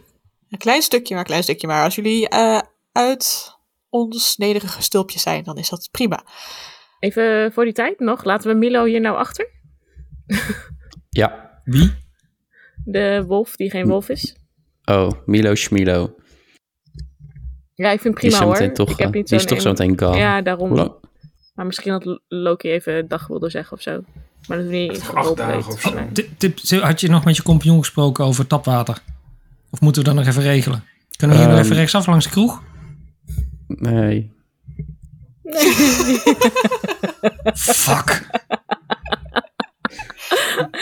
Een klein stukje maar, een klein stukje maar. Als jullie eh, uit ons nederige stulpje zijn, dan is dat prima. Even voor die tijd nog. Laten we Milo hier nou achter. Ja. Wie? De wolf die Hm. geen wolf is. Oh, Milo Schmilo. Die Ja, ik vind het is prima zo hoor. meteen toch, ik heb eh, niet die is zo'n toch zo een- meteen gone. Ja, Hoe daarom. lang? Maar misschien had L- Loki even dag wilde zeggen of zo. Maar dat hoeft niet Acht geholpen dagen heeft. of zo. Oh, Nee. Tip, Oh, tip, had je nog met je compagnon gesproken over tapwater? Of moeten we dat nog even regelen? Kunnen we hier nog Ehm. even rechtsaf langs de kroeg? Nee. Fuck.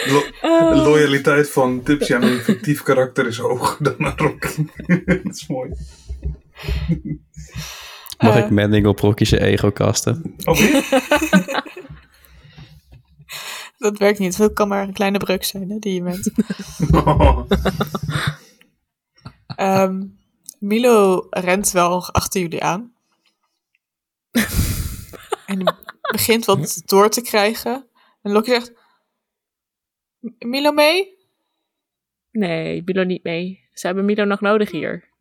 Lo- de Eh. loyaliteit van tipsy aan een fictief karakter is hoger dan naar Rocky. dat is mooi. Mag Eh. ik Mending op Rocky zijn ego kasten? Oh, weer? Dat werkt niet. Het kan maar een kleine breuk zijn hè, die je bent. Oh. Ehm, Milo rent wel achter jullie aan. en die begint wat door te krijgen. En Loki zegt: "M- Milo mee? nee, Milo niet mee. Ze hebben Milo nog nodig hier.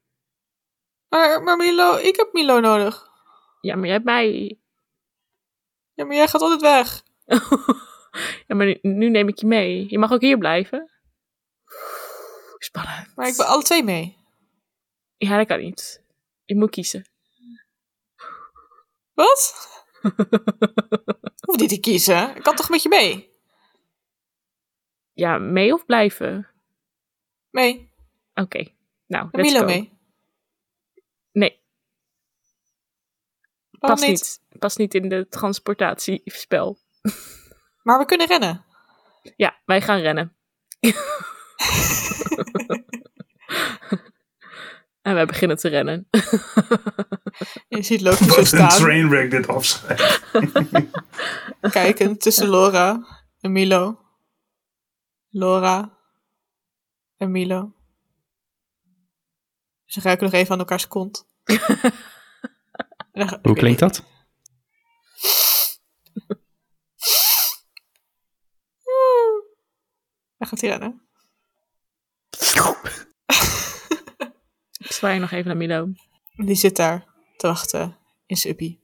Maar, maar Milo, ik heb Milo nodig. Ja, maar jij hebt mij. Ja, maar jij gaat altijd weg. ja, maar nu, nu neem ik je mee. Je mag ook hier blijven. Spannend. Maar ik wil alle twee mee. Ja, dat kan niet. Je moet kiezen. Wat? Hoef niet te kiezen. Ik kan toch met je mee? Ja, mee of blijven? Mee. Oké. Nou, En let's Milo go. mee. Nee, Waarom past niet. Past niet in de transportatiespel. Maar we kunnen rennen. Ja, wij gaan rennen. en wij beginnen te rennen. En je ziet Loki zo Wat een staan. trainwreck dit afscheid. kijken tussen Laura en Milo. Laura en Milo. Ze ruiken nog even aan elkaars kont. En dan- Hoe klinkt dat? Dan gaat hij rennen. Ik zwaai nog even naar Milo. En Die zit daar te wachten in zijn uppie.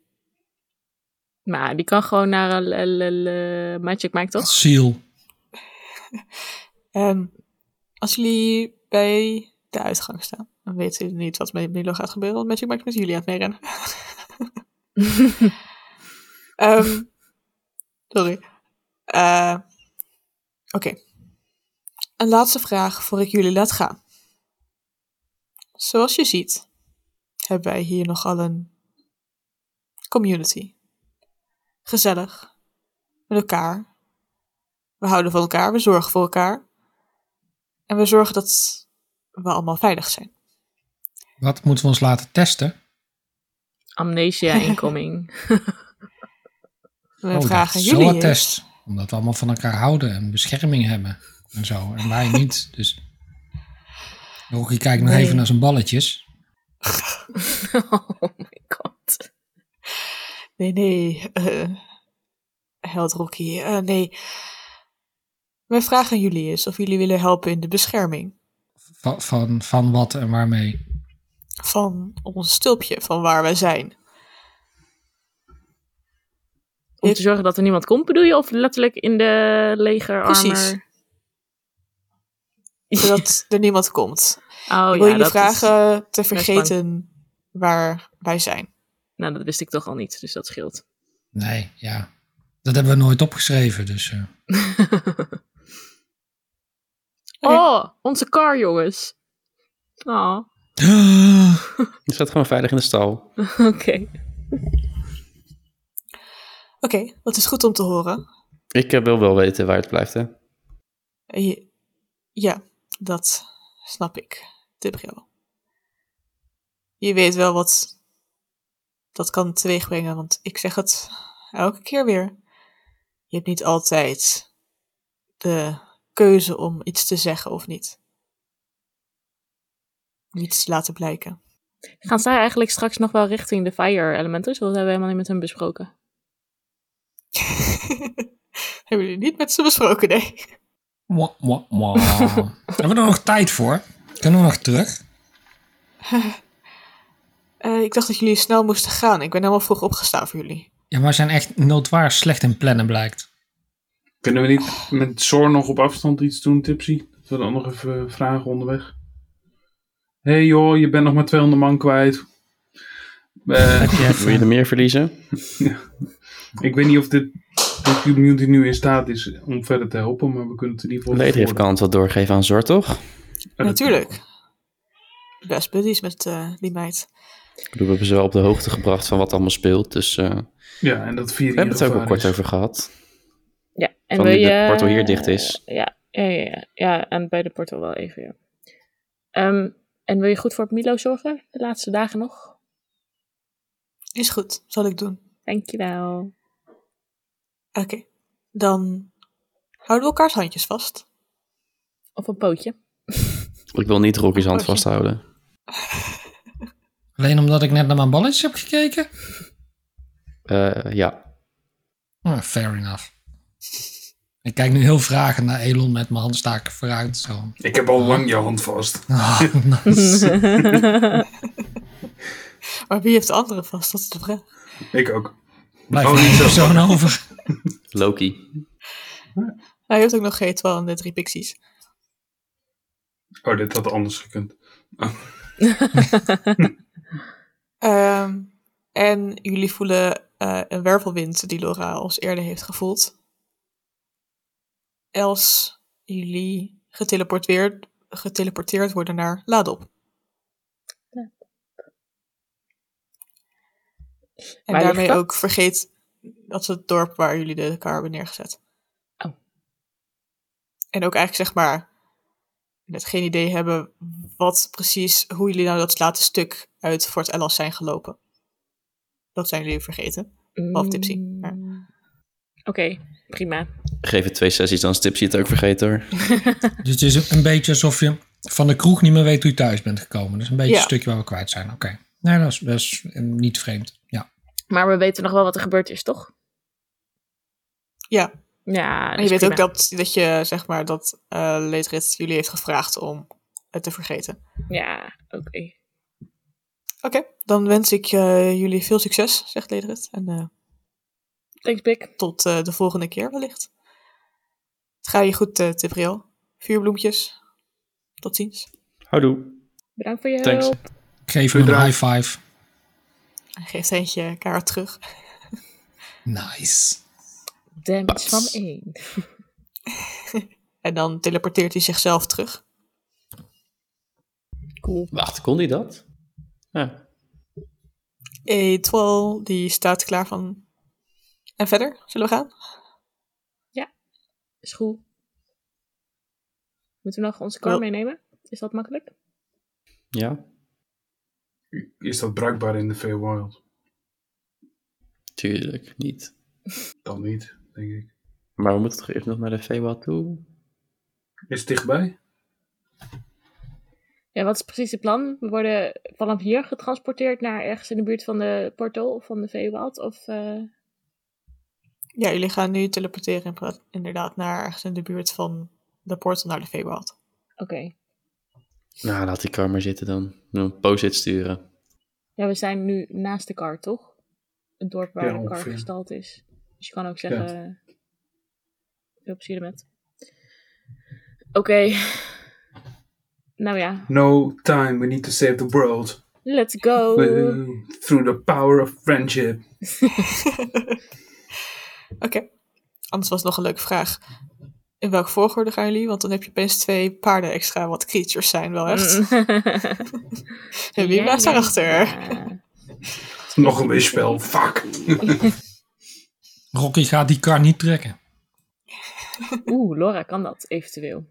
Maar die kan gewoon naar eh, le- le- le- Magic Mike, toch? Ziel. En Ehm, als jullie bij de uitgang staan, dan weten jullie niet wat met Milo gaat gebeuren. Want Magic Mike is met jullie aan het meerennen. Ehm, sorry. Eh, Oké. Een laatste vraag voor ik jullie laat gaan. Zoals je ziet, hebben wij hier nogal een community. Gezellig. Met elkaar. We houden van elkaar, we zorgen voor elkaar. En we zorgen dat we allemaal veilig zijn. Wat moeten we ons laten testen? Amnesia incoming. We Oh, dat vragen is jullie zo'n eens. test. Omdat we allemaal van elkaar houden en bescherming hebben. En zo. En wij niet. Dus. Rocky kijkt nog Nee. even naar zijn balletjes. oh my god. Nee, nee. eh held Rocky. eh, nee. We vragen jullie eens of jullie willen helpen in de bescherming. Van, van, van wat en waarmee. van ons stulpje, van waar wij zijn. Om te zorgen dat er niemand komt, bedoel je? Of letterlijk in de Oh, leger Precies. armor? Zodat er niemand komt. Oh Ik ja, wil jullie dat is- vragen te bang. vergeten waar wij zijn. Nou, dat wist ik toch al niet, dus dat scheelt. Nee, ja. Dat hebben we nooit opgeschreven. Dus eh, oh, onze car, jongens. Oh, Je staat gewoon veilig in de stal. oké. Oké, dat is goed om te horen. Ik eh, wil wel weten waar het blijft, hè? Eh, je- Ja, dat snap ik, Debril. Je weet wel wat dat kan teweegbrengen, want ik zeg het elke keer weer. Je hebt niet altijd de keuze om iets te zeggen of niet. Niets laten blijken. Gaan zij eigenlijk straks nog wel richting de fire elementals? Want dat hebben we helemaal niet met hen besproken. Hebben jullie niet met ze besproken, nee? mwah, mwah, mwah. hebben we er nog tijd voor? Kunnen we nog terug? Eh, ik dacht dat jullie snel moesten gaan. Ik ben helemaal vroeg opgestaan voor jullie. Ja, maar we zijn echt noodwaar slecht in plannen blijkt. Kunnen we niet met Zor nog op afstand iets doen, Tipsy? Dat we dan nog even vragen onderweg. Hé hey joh, je bent nog maar 200 man kwijt. Eh, Heb je Wil je er even, meer verliezen? ik weet niet of dit, de community nu in staat is om verder te helpen, maar we kunnen het in ieder geval... Lady heeft bevorderen. kant wat doorgeven aan Zor, toch? Eh, Natuurlijk. Best buddies met eh, die meid. Ik bedoel, we hebben ze wel op de hoogte gebracht van wat allemaal speelt. Dus eh, Ja, en dat vier we hebben het ook al kort over gehad. Ja, en Van wil nu de je- portal hier dicht is. Ja, ja, ja, ja. ja en bij de portal wel even, ja. Ehm, en wil je goed voor Milo zorgen? De laatste dagen nog? Is goed, zal ik doen. Dankjewel. Oké, dan houden we elkaars handjes vast. Of een pootje. Ik wil niet Rocky's hand Oh, shit. vasthouden. alleen omdat ik net naar mijn balletjes heb gekeken? Eh, ja, Ah, fair enough. Ik kijk nu heel vragen naar Elon met mijn handstaken vooruit. Zo. Ik heb al lang je hand vast. Ah, nice. Maar wie heeft de andere vast? Dat is de vraag. Ik ook. Blijf Oh, nog niet één zo. persoon over. Loki. Hij heeft ook nog G12 en de drie pixies. Oh, dit had anders gekund. Ehm, en jullie voelen eh, een wervelwind die Laura als eerder heeft gevoeld. Els jullie geteleporteerd, geteleporteerd worden naar Ladop. En Waar ligt daarmee dat? ook vergeet dat is het dorp waar jullie de kar hebben neergezet. Oh. En ook eigenlijk zeg maar net geen idee hebben wat precies, hoe jullie nou dat laatste stuk uit Fort Ellis zijn gelopen. Dat zijn jullie vergeten. Behalve Tipsy, Mm. maar- Oké, prima. Geef het twee sessies, dan is Tipsy het ook vergeten hoor. Dus het is een beetje alsof je van de kroeg niet meer weet hoe je thuis bent gekomen. Dat is een beetje Ja. een stukje waar we kwijt zijn. Oké. Nee, dat is, dat is eh, niet vreemd. Ja. Maar we weten nog wel wat er gebeurd is, toch? Ja, Ja, en je weet ook dat, dat je zeg maar dat eh Leedrit jullie heeft gevraagd om het te vergeten. Ja, oké. Oké, dan wens ik eh, jullie veel succes, zegt Leedrit. En eh, Thanks, Bik. tot eh, de volgende keer wellicht. Het gaat je goed, eh Tibriel. Vuurbloempjes. Tot ziens. Houdoe. Bedankt voor je Thanks. hulp. Ik geef hem een Bedankt. high five. Hij geeft eentje kaart terug. Nice. Damage Pats. van één. En dan teleporteert hij zichzelf terug. Cool. Wacht, kon hij dat? Ja. Etwal, die staat klaar van En verder? Zullen we gaan? Is goed. Moeten we nog onze kar Wel- meenemen? Is dat makkelijk? Ja, Is dat bruikbaar in de Feywild? tuurlijk niet. Dan niet, denk ik. Maar we moeten toch eerst nog naar de Feywild toe? Is het dichtbij? Ja, wat is precies het plan? We worden vanaf hier getransporteerd naar ergens in de buurt van de portal of van de Veewald? Of eh, Ja, jullie gaan nu teleporteren in pra- inderdaad naar ergens in de buurt van de portal naar de Feywild. Oké. Nou, laat die kar maar zitten dan. Een post-it sturen. Ja, we zijn nu naast de kar, toch? Het dorp waar Ja, de kar ongeveer. gestald is. Dus je kan ook zeggen... eh, Veel plezier ermee. Oké. Nou ja, No time, we need to save the world. let's go! Mm. Uh, Through the power of friendship. Oké. Anders was nog een leuke vraag. In welke volgorde gaan jullie? Want dan heb je opeens twee paarden extra, wat creatures zijn wel echt. En wie blijft daarachter? Ja. Nog een weerspel, fuck. Rocky gaat die kar niet trekken. Oeh, Laura kan dat eventueel.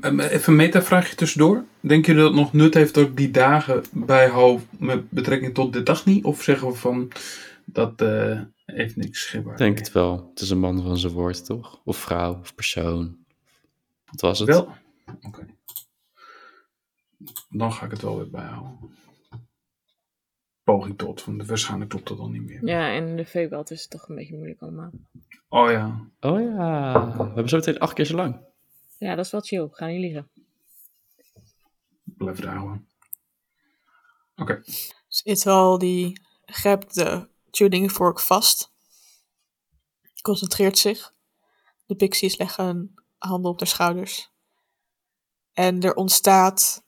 Ehm, Even een metavraagje tussendoor. Denk je dat het nog nut heeft dat ik die dagen bijhoud met betrekking tot de dag niet? Of zeggen we van, dat eh, heeft niks Ik schipbaar? denk het wel. Het is een man van zijn woord, toch? Of vrouw, of persoon. Wat was het? Wel? Oké. Dan ga ik het wel weer bijhouden. Poging tot, want waarschijnlijk klopt dat dan niet meer. Ja, en de veebelt is toch een beetje moeilijk allemaal. Oh ja, Oh ja, we hebben zo meteen acht keer zo lang. Ja, dat is wel chill. Gaan niet liggen. blijf het houden. Oké, Dus Ital die grijpt de tuning fork vast. Concentreert zich. De pixies leggen hun handen op haar schouders. En er ontstaat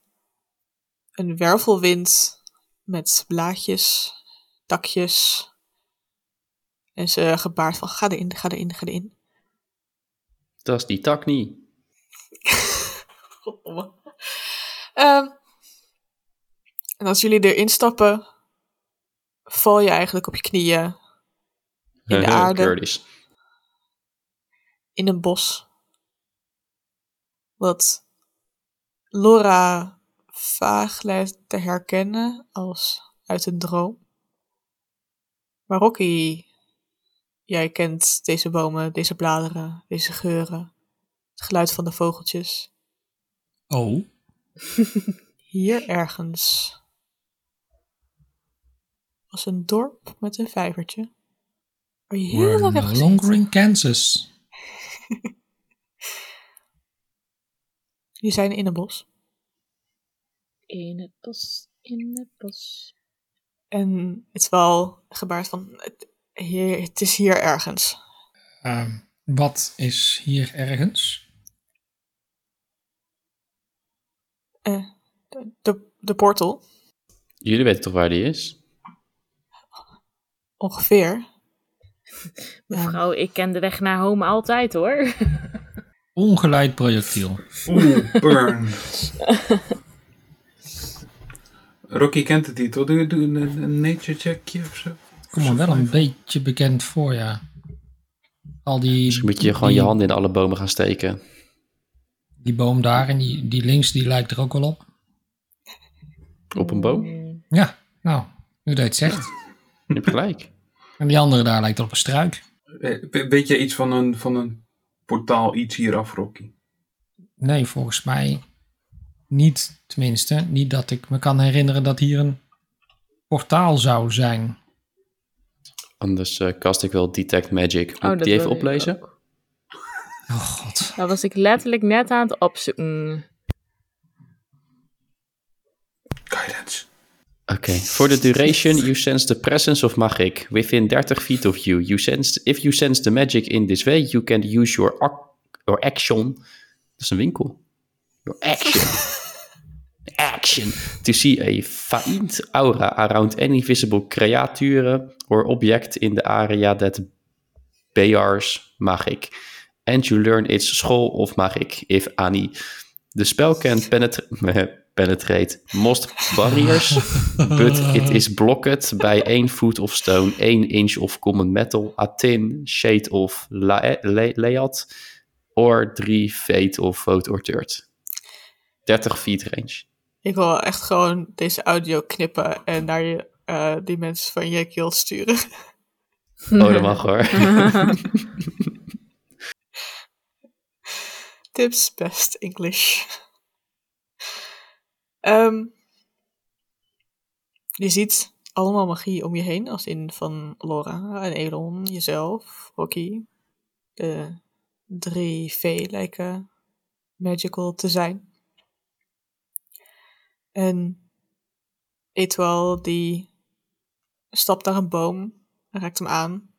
een wervelwind met blaadjes, takjes. En ze gebaart van ga erin, ga erin, ga erin. Dat is die tak niet. Goddomme. Ehm, en als jullie erin stappen, val je eigenlijk op je knieën In de aarde. Curtis. in een bos. Wat Laura vaag lijkt te herkennen als uit een droom. Maar Rocky, jij kent deze bomen, deze bladeren, deze geuren, het geluid van de vogeltjes. Oh, Hier ergens was een dorp met een vijvertje. Waar je heel we're lang hebt no gezeten. longer in Kansas. Die zijn in een bos. In het bos, in het bos. En het is wel gebaard van, het, hier, het is hier ergens. Ehm, wat is hier ergens? De, de, de portal, Jullie weten toch waar die is? ongeveer. Mevrouw, ik ken de weg naar home altijd hoor. Ongeleid projectiel. oeh, burn. Rocky kent het niet, hoor. Doe, doe een, een nature checkje of zo. Kom me wel een beetje bekend voor, ja. Al die... Dus moet je gewoon die- je handen in alle bomen gaan steken. Die boom daar en die, die links, die lijkt er ook wel op. Op een boom? Mm, Ja, nou, nu dat je het zegt. Je hebt gelijk. En die andere daar lijkt op een struik. Eh, we- Weet jij iets van een, van een portaal iets hieraf, Rocky? Nee, volgens mij niet. Tenminste, niet dat ik me kan herinneren dat hier een portaal zou zijn. Anders eh, kast ik wel Detect Magic. Moet Oh, ik dat die even wilde ik oplezen? Oh god. Dat was ik letterlijk net aan het opzoeken. Guidance. Oké. For the duration, you sense the presence of magic. Within 30 feet of you. you sense, if you sense the magic in this way, you can use your, ac- your action. Dat is een winkel. Your action. action. To see a faint aura around any visible creature or object in the area that BR's magic. And you learn its school of magic, if any. The spell can penetrate... penetrate most barriers, but Eh. it is blocked by 1 foot of stone, 1 inch of common metal, a tin, shade of la- eh, la- layat, or 3 feet of vote or dirt. 30 feet range. Ik wil echt gewoon deze audio knippen en naar je, eh, die mensen van je keel sturen. Mhm. Oh, dat mag hoor. Tips best English. Ehm, je ziet allemaal magie om je heen, als in van Laura en Elon, jezelf, Rocky. De drie vee lijken magical te zijn. En Etwal die stapt naar een boom, raakt hem aan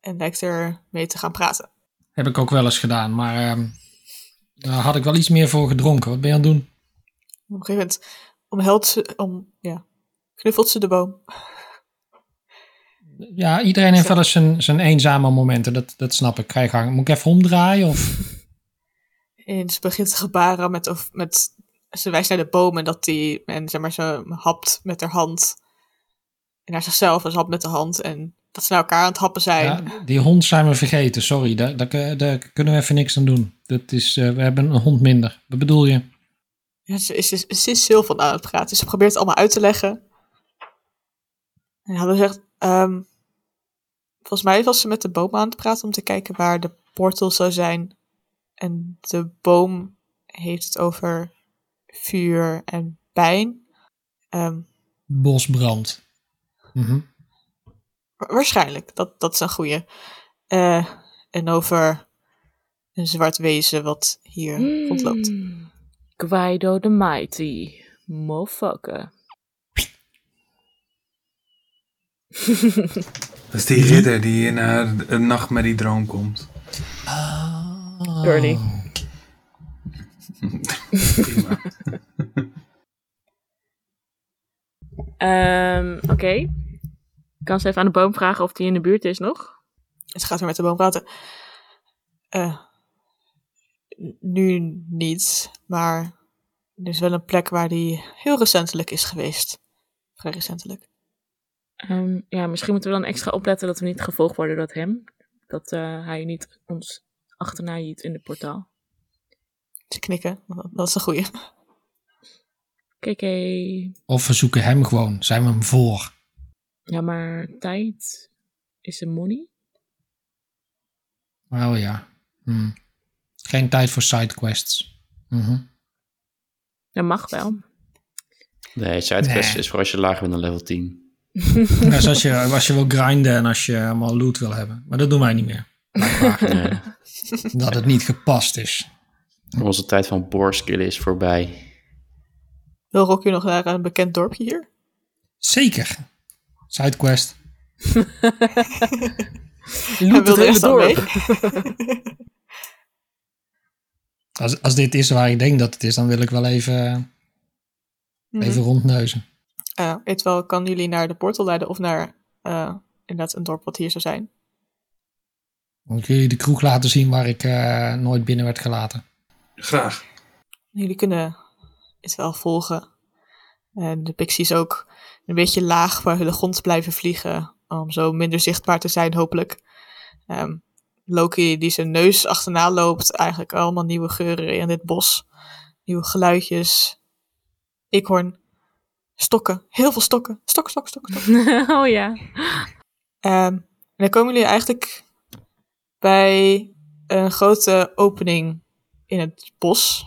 en lijkt er mee te gaan praten. Heb ik ook wel eens gedaan, maar ehm, daar had ik wel iets meer voor gedronken. Wat ben je aan het doen? Op een gegeven moment omhelt ze, om, ja, knuffelt ze de boom. Ja, iedereen heeft wel eens zijn, zijn eenzame momenten. Dat, dat snap ik. Ga je gang. Moet ik even omdraaien? Of? En ze begint te gebaren met, of, met ze wijst naar de boom en dat die, en zeg maar, ze hapt met haar hand. En naar zichzelf en ze hapt met de hand en dat ze naar elkaar aan het happen zijn. Ja, die hond zijn we vergeten. Sorry, daar, daar, daar kunnen we even niks aan doen. Dat is, eh, we hebben een hond minder. Wat bedoel je? Ja, ze, is, ze, ze is heel van aan het praten. Ze probeert het allemaal uit te leggen. En hadden zegt, ehm, volgens mij was ze met de boom aan het praten om te kijken waar de portal zou zijn. En de boom heeft het over vuur en pijn. Ehm, Bosbrand. Mhm. wa- waarschijnlijk, dat, dat is een goede. Eh, en over een zwart wezen wat hier rondloopt. Hmm. Guido the Mighty. Motherfucker. Dat is die ridder die in haar een nachtmerriedroom komt. Curly. Oh. Prima. Ehm, Oké. Ik Kan ze even aan de boom vragen of die in de buurt is nog? En ze gaat weer met de boom praten. Eh, n- nu niet, maar er is wel een plek waar die heel recentelijk is geweest. Vrij recentelijk. Ehm, ja, misschien moeten we dan extra opletten dat we niet gevolgd worden door dat hem. Dat eh, hij niet ons achterna jiet in het portaal. Ze knikken, want dat- dat is een goeie. KK. Of we zoeken hem gewoon. Zijn we hem voor? Ja, maar tijd is een money. Oh ja. Hm. Geen tijd voor sidequests. Mhm. Dat mag wel. Nee, sidequest Nee. is voor als je lager bent dan level 10. Ja, zoals je, als je wil grinden en als je allemaal loot wil hebben. Maar dat doen wij niet meer. Blijkbaar. Nee. dat het niet gepast is. Onze tijd van boorskillen is voorbij. Wil Rocky nog naar een bekend dorpje hier? Zeker. Sidequest. Hij wil het er hele echt al dorp. mee. Als, als dit is waar ik denk dat het is, dan wil ik wel even, even rondneuzen. Eh, Evenwel, kan jullie naar de portal leiden of naar eh, inderdaad een dorp wat hier zou zijn? Dan kun je de kroeg laten zien waar ik eh, nooit binnen werd gelaten. Graag. Jullie kunnen het wel volgen. En de pixies ook een beetje laag waar hun grond blijven vliegen. Om zo minder zichtbaar te zijn, hopelijk. Ehm, Loki die zijn neus achterna loopt. Eigenlijk allemaal nieuwe geuren in dit bos. Nieuwe geluidjes. Eekhoorn. Stokken. Heel veel stokken. Stok, stok, stok, stok. oh ja. Ehm, en dan komen jullie eigenlijk bij een grote opening in het bos.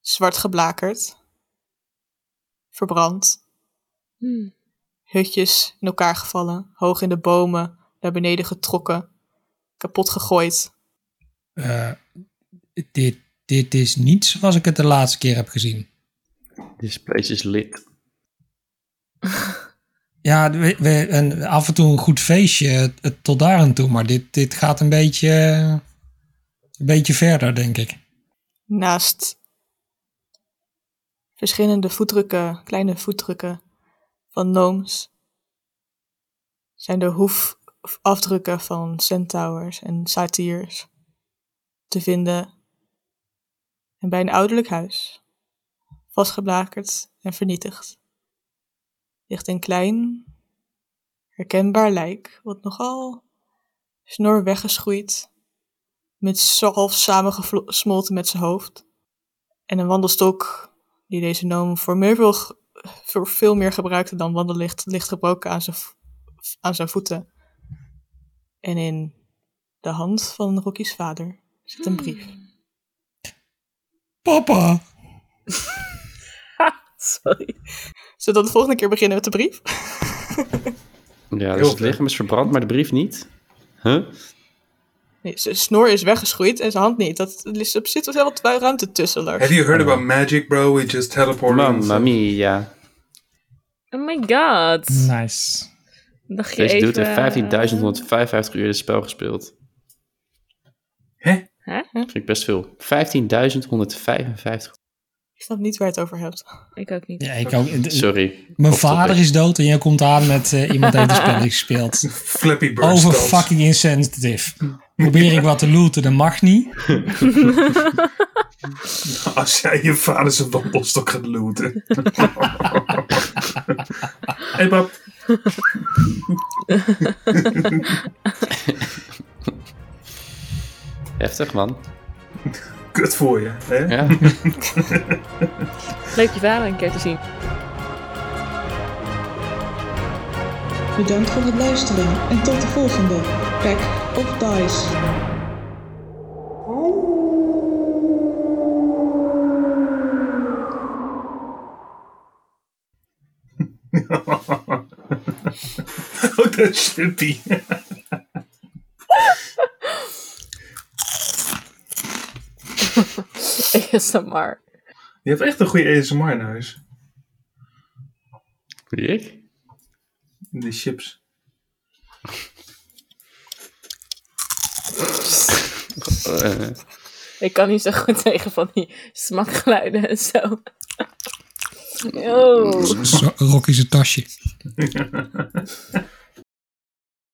Zwart geblakerd. Verbrand. Hmm. Hutjes in elkaar gevallen. Hoog in de bomen. Naar beneden getrokken. Kapot gegooid. Eh, dit, dit is niet zoals ik het de laatste keer heb gezien. This place is lit. Ja, we, we- en af en toe een goed feestje eh, tot daar aan toe. Maar dit, dit gaat een beetje, eh, een beetje verder, denk ik. Naast verschillende voetdrukken, kleine voetdrukken van gnomes, zijn de hoefafdrukken van centaurs en satyrs te vinden. En bij een ouderlijk huis vastgeblakerd en vernietigd. Ligt een klein, herkenbaar lijk, wat nogal snor weggeschoeid, met zo half samengesmolten met zijn hoofd, en een wandelstok die deze noom voor meer veel, g- voor veel meer gebruikte dan wandellicht, ligt gebroken aan zijn, v- aan zijn voeten. En in de hand van Rocky's vader zit een brief. Papa! Sorry. Zullen we dan de volgende keer beginnen met de brief? Ja, Heel dus het vet. lichaam is verbrand, maar de brief niet. Huh? Nee, zijn snor is weggeschoeid en zijn hand niet. Dat er is op zit wel wat ruimte tussen. Lars. Have you heard about magic, bro? We just teleported. Mamma mia. Oh my god. Nice. Dacht je Deze even... eh, dude heeft 15.155 uur dit spel gespeeld. Hè? Hè? Vind ik best veel. 15.155. Ik snap niet waar je het over hebt. Ik ook niet. Ja, ik ook. d- Sorry. Mijn Off topic. vader is dood en jij komt aan met eh, iemand heeft een spelletje gespeeld. Flappy Bird Over stelt. fucking insensitive. Probeer ik wat te looten, dat mag niet. Als jij je vader zijn wandelstok gaat looten. hey pap. Heftig, man. Kut voor je. Hè? Ja. Leuk je vader een keer te zien. Bedankt voor het luisteren en tot de volgende Pack of Dice. Oh, dat shippy. ASMR. Je hebt echt een goede ASMR in huis. Wie ik? Die chips. Eh, Ik kan niet zo goed tegen van die smakgeluiden en zo. Oh. Zo, Rocky zijn tasje.